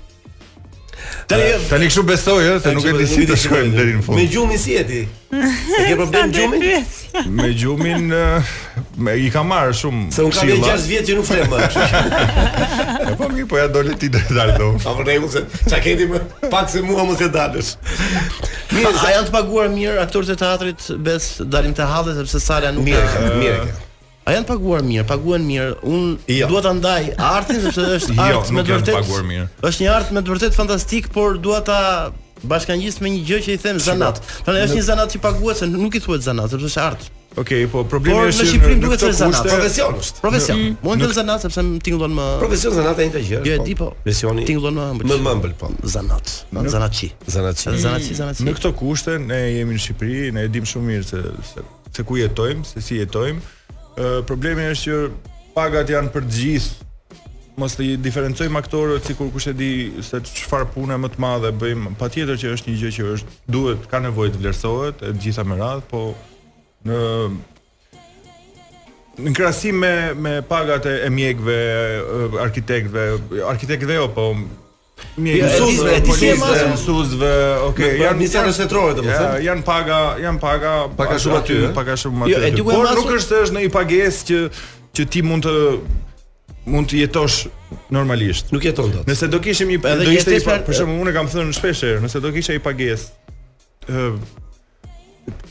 Tani tani kështu besoj, ëh, se
Tani
nuk
kështu
e di si
besoj, nuk e
të
di si
shkojmë deri në fund.
Me gjumin si jeti? E ke problem gjumin?
Me gjumin eh, me, i kam marr shumë.
Se unë kam
këshilla.
6 vjet që nuk flem më. kështu që-
E po mirë, po ja dole ti Dardo.
Po për rregull se çka keni më pak se mua mos e dalësh.
Mirë, a janë të paguar mirë aktorët e teatrit bes dalim të halli sepse sala nuk
Mirë ka, mirë ka.
A janë paguar mirë, paguhen mirë. Unë dua ta ndaj artin sepse është
Jo,
art me
nuk
të
janë
vërtetë.
paguar mirë.
Është një art me të vërtetë fantastik, por dua ta bashkangjis me një gjë që i them zanat. Pra është
Në-
një zanat që paguhet se nuk i thuhet zanat, sepse është art.
Okej, po problemi
Por në
është që
Shqipëri
në
duhet
këto
se zanat,
kushte-
profesion është. Profesion.
Në-
Mua
në
ndel zanat sepse më tingëllon më
Profesion zanat e njëjta gjë.
Jo, e di po.
Lesioni.
Tingëllon më ëmbël.
Më mëmbël po.
Zanat.
Në-
Zanatçi.
Zanatçi.
Zanatçi, zanatçi.
Në këto kushte ne jemi në Shqipëri, ne e dim shumë mirë se se, se ku jetojmë, se si jetojmë. Ë problemi është që pagat janë për të gjithë. Mos të diferencojmë aktorët sikur kush e di se çfarë pune më të madhe bëjmë. Patjetër që është një gjë që është duhet ka nevojë të vlerësohet e të gjitha me radhë, po në në krahasim me me pagat e, e mjekëve, e, arkitektëve, arkitektëve jo, po
Ja, e di- e di si e masën.
mësuesve, okay,
Me- me nisat shtetërore, domethënë.
Ja, janë paga, janë paga
Paga shumë aty, ëh?
paga shumë aty.
Jo, e di ku e
Por
masën?
nuk është se është në i pagesë që që ti mund të mund të jetosh normalisht.
Nuk jeton dot.
Nëse do kishim një
Edhe
do ishte i
jetesa-
pa, për shembull unë e kam thënë shpesh herë, nëse do kisha i pagesë ë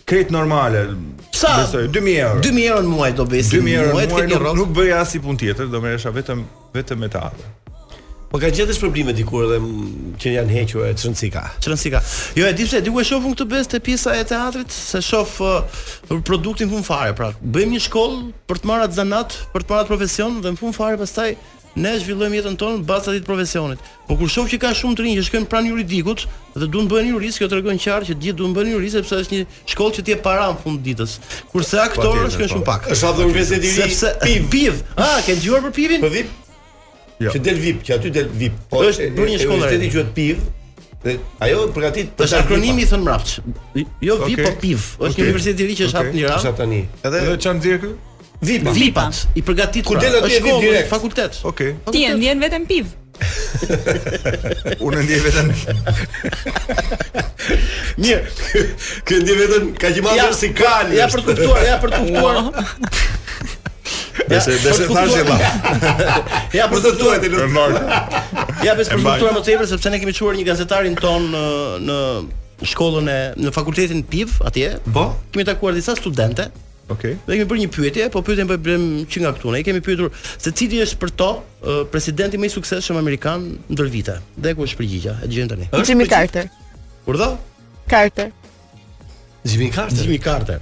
krejt normale.
Sa?
Besoj 2000 euro.
2000 euro në muaj do besim.
2000 euro
Muaj
në
të
muaj
ketë një
nuk,
rrogë.
nuk bëj as i punë tjetër, do merresha vetëm vetëm me teatr.
Po ka gjetesh probleme dikur edhe m- që janë hequr e çrënci ka.
Çrënci ka. Jo, e di pse, di ku e shoh unë këtë besë te pjesa e teatrit, se shoh uh, produktin fund fare, pra bëjmë një shkollë për të marrë atë zanat, për të marrë atë profesion dhe në fund fare pastaj ne zhvillojmë jetën tonë bazë atit profesionit. Po kur shoh që ka shumë të rinj që shkojnë pranë juridikut dhe duan bëhen juristë, kjo tregon qartë që gjithë duan bëhen juristë sepse është një shkollë që ti e para në fund ditës. Kurse
Patjetër,
aktorë shkojnë
po.
shumë pak.
Është atë universitet i ri,
Sepse
piv.
piv. Ah, ke dëgjuar për pivin?
Po vip?
Jo.
Që del vip, që aty del vip. Po
Është
e-
bërë një
e-
shkollë
Universiteti
re.
quhet PIV. Dhe ajo përgatit për
Është
ta
akronimi i
vipa.
thën mrapç. Jo VIP,
Okej.
po PIV. Është
Okej.
një universitet i ri që është hap në Tiranë.
Është hap tani. Edhe
Edhe çan nxjerr ky?
Vipa.
Vipat, i përgatit
Kur del atje vip direkt.
fakultet.
Okej.
Ti e ndjen vetëm piv.
Unë ndjej vetëm.
Mirë.
Kë ndje vetëm ka që madhër si kali.
Ja për të kuptuar, ja për të kuptuar.
Dese dese thashë
kuptuar. Ja për të kuptuar.
ti lutem.
Ja për
E mbaj.
të kuptuar më tepër sepse ne kemi çuar një gazetarin ton në në shkollën e në fakultetin PIV atje.
Po.
Kemi takuar disa studente
Okej.
Ne kemi bërë një pyetje, po pyetjen po e bëm që nga këtu. Ne i kemi pyetur se cili është për to ë, presidenti më i suksesshëm amerikan ndër vite. Dhe ku është përgjigjja? E dëgjojmë tani.
Jimmy Carter.
Kur do?
Carter.
Jimmy Carter.
Jimmy Carter.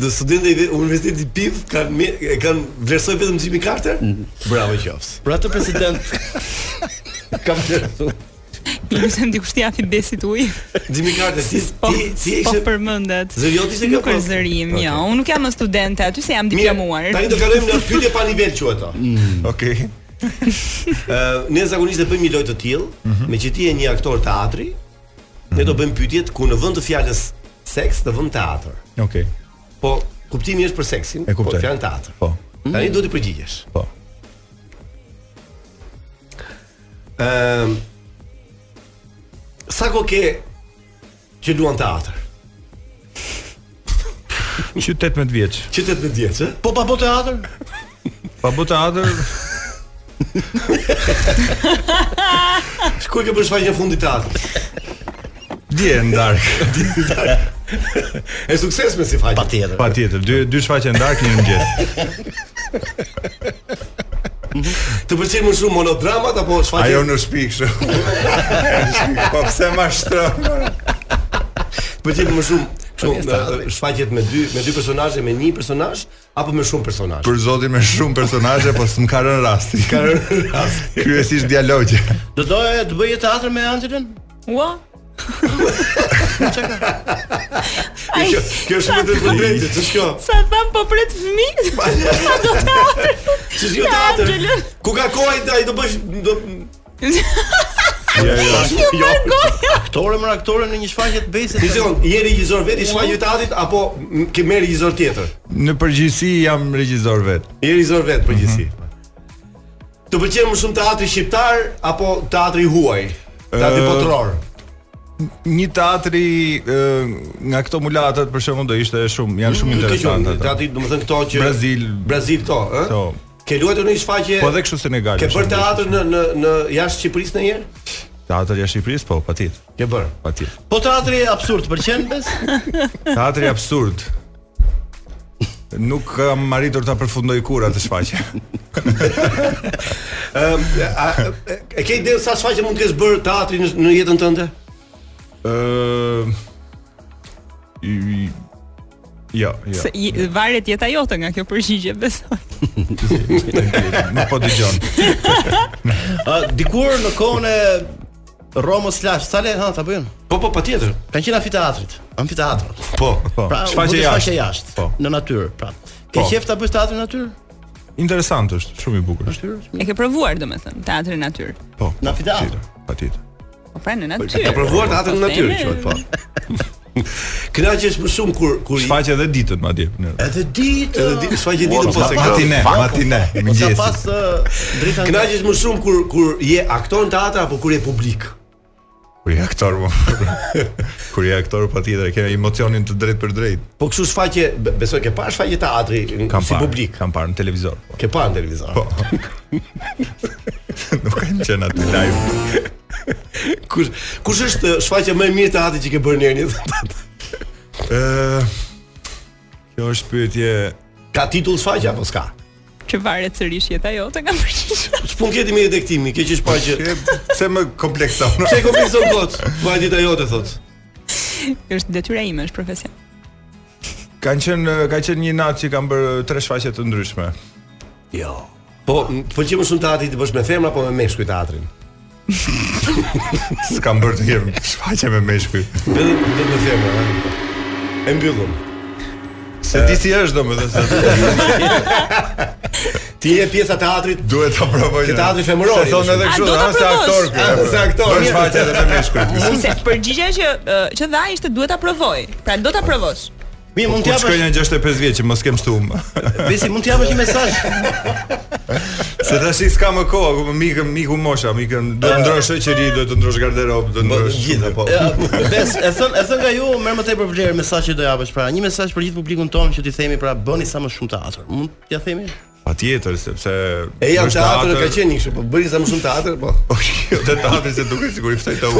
Dhe studentët e Universitetit PIV kanë me- e kanë vlerësoj vetëm Jimmy Carter?
Mm.
Bravo qofs.
Për atë president
Kam vlerësuar.
Lusem dikush t'i japi besit ujë.
Jimmy Carter, ti
Po,
ti ti
po
ishe
përmendet.
Zërioti ishte
Nuk
kjo, po?
është zërim, jo.
Okej.
Unë nuk jam studente aty se jam
Mirë,
diplomuar.
Tani do kalojmë në pyetje pa nivel quhet ato.
Mm.
Okej.
Ë, ne zakonisht e bëjmë një lojë të tillë,
Mhm.
me që ti je një aktor teatri, ne do bëjmë pyetjet ku në vend të fjalës seks të vëmë teatr.
Okej.
Po kuptimi është për seksin,
E
po
kuptoj.
fjalën teatr.
Po.
Tani duhet të përgjigjesh.
Po.
Ëm sa ko ke që luan teatr?
Që 18 vjeç.
Që 18 vjeç, ë?
Po pa po teatr?
Pa bë teatr,
Ku e ke bërë shfaqjen e fundit teatrit?
dje në darkë.
E suksesme si faqje.
Patjetër.
Patjetër, dy dy shfaqje në darkë një në mëngjes.
Të pëlqejnë më shumë monodramat apo shfaqje?
Ajo në shtëpi kështu. Po pse ma shtron?
Të pëlqejnë më shumë Kështu shfaqet me dy me dy personazhe, me një personazh apo me shumë personazhe.
Për zotin me shumë personazhe, po s'm ka rënë rasti.
Ka rënë rasti.
Kryesisht dialogje.
Do doje të bëje teatr me Angelën?
Ua.
Ai, kjo, kjo është shumë të vërtetë, ç'është kjo?
Sa tham po pret fëmijë? Sa do teatr?
Ç'është kjo teatr? Ku ka kohë ai do bësh do
Jo, jo,
jo.
Aktore më aktore në një shfaqje të besës.
Dizon, je regjisor vetë i shfaqjes teatrit apo m- ke merr regjisor tjetër?
Në përgjithësi jam regjisor vet.
Je regjisor vetë përgjithësi. Të pëlqen më shumë teatri shqiptar apo teatri huaj?
Ë,
Teatri botror.
Një teatri ë, nga këto mulatat për shembull do ishte shumë, janë shumë
Kjo që
interesante. ato.
Mm, teatri, domethënë këto që
Brazil,
Brazil këto, ë?
Po.
Ke luajtur në një shfaqje?
Po edhe kështu Senegal.
Ke
për
bërë
shembull.
teatr në në në jashtë Shqipërisë ndonjëherë?
Teatri jashtë Shqipërisë, po, patjetër.
Ke bërë.
Patjetër.
Po teatri absurd, pëlqen bes?
Teatri absurd. Nuk kam arritur ta përfundoj kur atë shfaqje.
Ëm, a e- e ke ide sa shfaqje mund të kesh bërë teatri në, në jetën tënde?
Ë i- Jo, jo.
Se i- varet jeta jote nga kjo përgjigje, besoj.
Nuk po dëgjon.
Ë, dikur në kohën e Romës Lash, sa le ha ta bëjën?
Po po patjetër.
Kanë qenë amfiteatrit, amfiteatri.
Po,
po.
Pra,
Shfaqje jashtë.
jashtë,
Po.
në natyrë, pra. Ke
Po.
qef ta bësh teatrin në natyrë?
Interesant është, shumë i bukur.
E ke provuar domethënë teatrin natyrë.
Po.
Në amfiteatr.
Patjetër.
Po pra në natyrë.
Ka provuar teatrin në natyrë,
Themi-
thotë po. Knaqesh më shumë kur kur i-
Shfaqje edhe ditën madje. në-
Edhe ditë.
edhe di shfaqje
Po,
ditën po se
matine, matine,
Po, Sa
mëngjesi.
pas ë, drita
Knaqesh më shumë kur kur je aktor në teatr apo kur je publik?
Kur je aktor, mo. kur je aktor patjetër ke emocionin të drejtë për drejtë.
Po kështu shfaqje, be- besoj ke parë shfaqje teatri n-
Kam
si
parë,
publik.
kam parë në televizor. Po.
Ke parë në televizor.
Po. Nuk kanë qenë aty live.
Kush kush është shfaqja më e mirë teatri që ke bërë në një jetë?
Ë Kjo është pyetje
Ka titull shfaqja apo s'ka? Po,
Që varet sërish jeta jote nga përgjigje.
S'pun keti me detektimin, ke që shfaqje.
Ke- pse më komplekson.
Pse e komplizon kot? Vaj dita jote thot.
Është detyra ime, është profesion.
Kanë qenë ka qenë një natë që kam bërë tre shfaqje të ndryshme.
Jo. Po, m- pëlqen më shumë teatri të bësh me femra apo me meshkuj teatrin?
S'kam bërë të jem shfaqje me meshkuj.
Vetëm vetëm me femra. ha? E mbyllëm.
Se ti si është domethënë se
Ti je pjesa e teatrit
duhet ta provoj.
Ke teatri femëror,
femëror. Se thonë edhe
A,
kështu,
do ta
ha se aktor ky.
provosh?
A, se aktor.
Bën shfaqje edhe me meshkuj.
Se përgjigja që ë, që dha ishte duhet ta provoj. Pra do ta provosh.
Mi mund
Kur
t'ja
të shkoj në
japësh,
65 vjeç që mos kem shtum.
besi mund t'ja japësh një mesazh.
Se tash i s'ka më kohë, ku më mikëm miku mosha, mikëm do të ndrosh shoqëri, do të ndrosh garderobë, do të
Po,
ndrosh
gjithë po.
Ja, Bes, e thën e thën nga ju, merr më tepër vlerë mesazhi që do japësh pra. Një mesazh për gjithë publikun tonë që ti themi pra bëni sa më shumë teatr. Mund t'ja themi?
Patjetër sepse
E janë
është
teatri ka qenë kështu, po bëri sa më shumë teatr, po.
Po jo, te teatri se duket sikur i ftoj të u.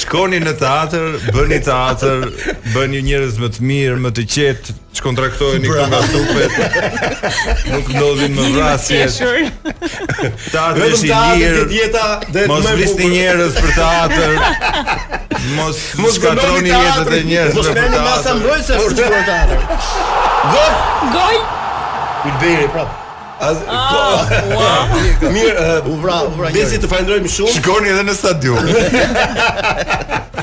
Shkoni në teatr, bëni teatr, bëni njerëz më të mirë, më të qetë, çkontraktojeni këtu nga supet. Nuk ndodhin më vrasje.
Qeshur.
Teatri
Vetëm
është i
teatri
lirë.
këtë jeta dhe
Mos
më e
vrisni
bukur.
njerëz për teatr. Mos mos
gënoni
shkatroni jetën e
teatrin,
njerëzve.
Mos
për
merrni
teatr.
masa mbrojtëse për teatr.
Gol.
Ulberi prap. As
Ah.
po. Mirë,
U vra, u vra.
ë, Besi të falenderojmë shumë.
Shkoni edhe në stadium.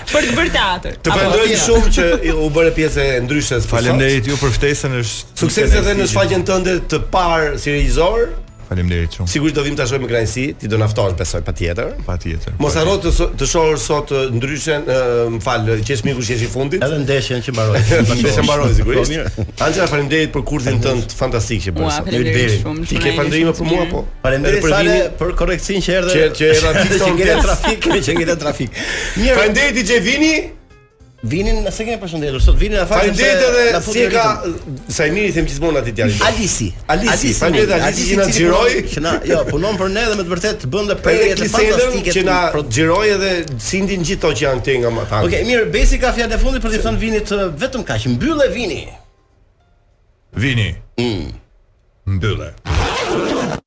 Për të bërë teatr.
Të falenderojmë shumë që i- u bëre pjesë e ndryshe të
Faleminderit ju për ftesën, është
Sukses edhe në shfaqjen tënde të parë si regjisor.
Faleminderit shumë.
Sigurisht do vim ta shohim me kënaqësi, ti do na ftosh besoj patjetër.
Patjetër.
Mos harro të, so- të shohësh sot ë, ndryshen, ë, më fal, qesh miku qesh i fundit.
Edhe ndeshjen që mbaroi.
Ndeshja mbaroi sigurisht.
Po, mirë.
Angela, faleminderit për kursin tënd fantastik që bëre
Ua,
sot.
faleminderit
Ulberi,
shumë,
Ti
shumë
ke
e
pandërime për mua
shumë
po.
Faleminderit për
Sale,
vinin, për korreksin që erdhe.
Që- që erdha fikson
që ngjelet
pjesë.
trafik, që ngjelet trafik. Mirë,
Faleminderit DJ Vini.
vinin, se kemi përshëndetur. Sot vinin afaqën.
Faleminderit edhe si e ka Sajmiri them gjithmonë atë djalin.
Alisi.
Alisi, faleminderit
Alisi,
Alisi që
i
na
cili
xhiroi.
punon- Që na, jo, punon për ne dhe me të vërtetë bën dhe
Për
prerje të
Ekliselën
fantastike.
që na
të-
xhiroi edhe sindin gjithë to që janë këtej nga mata.
Okej, mirë, Besi ka fjalë e fundit për të thënë vinit ë, vetëm kaq. Mbyllë vini.
Vini. Mm. Mbyllë.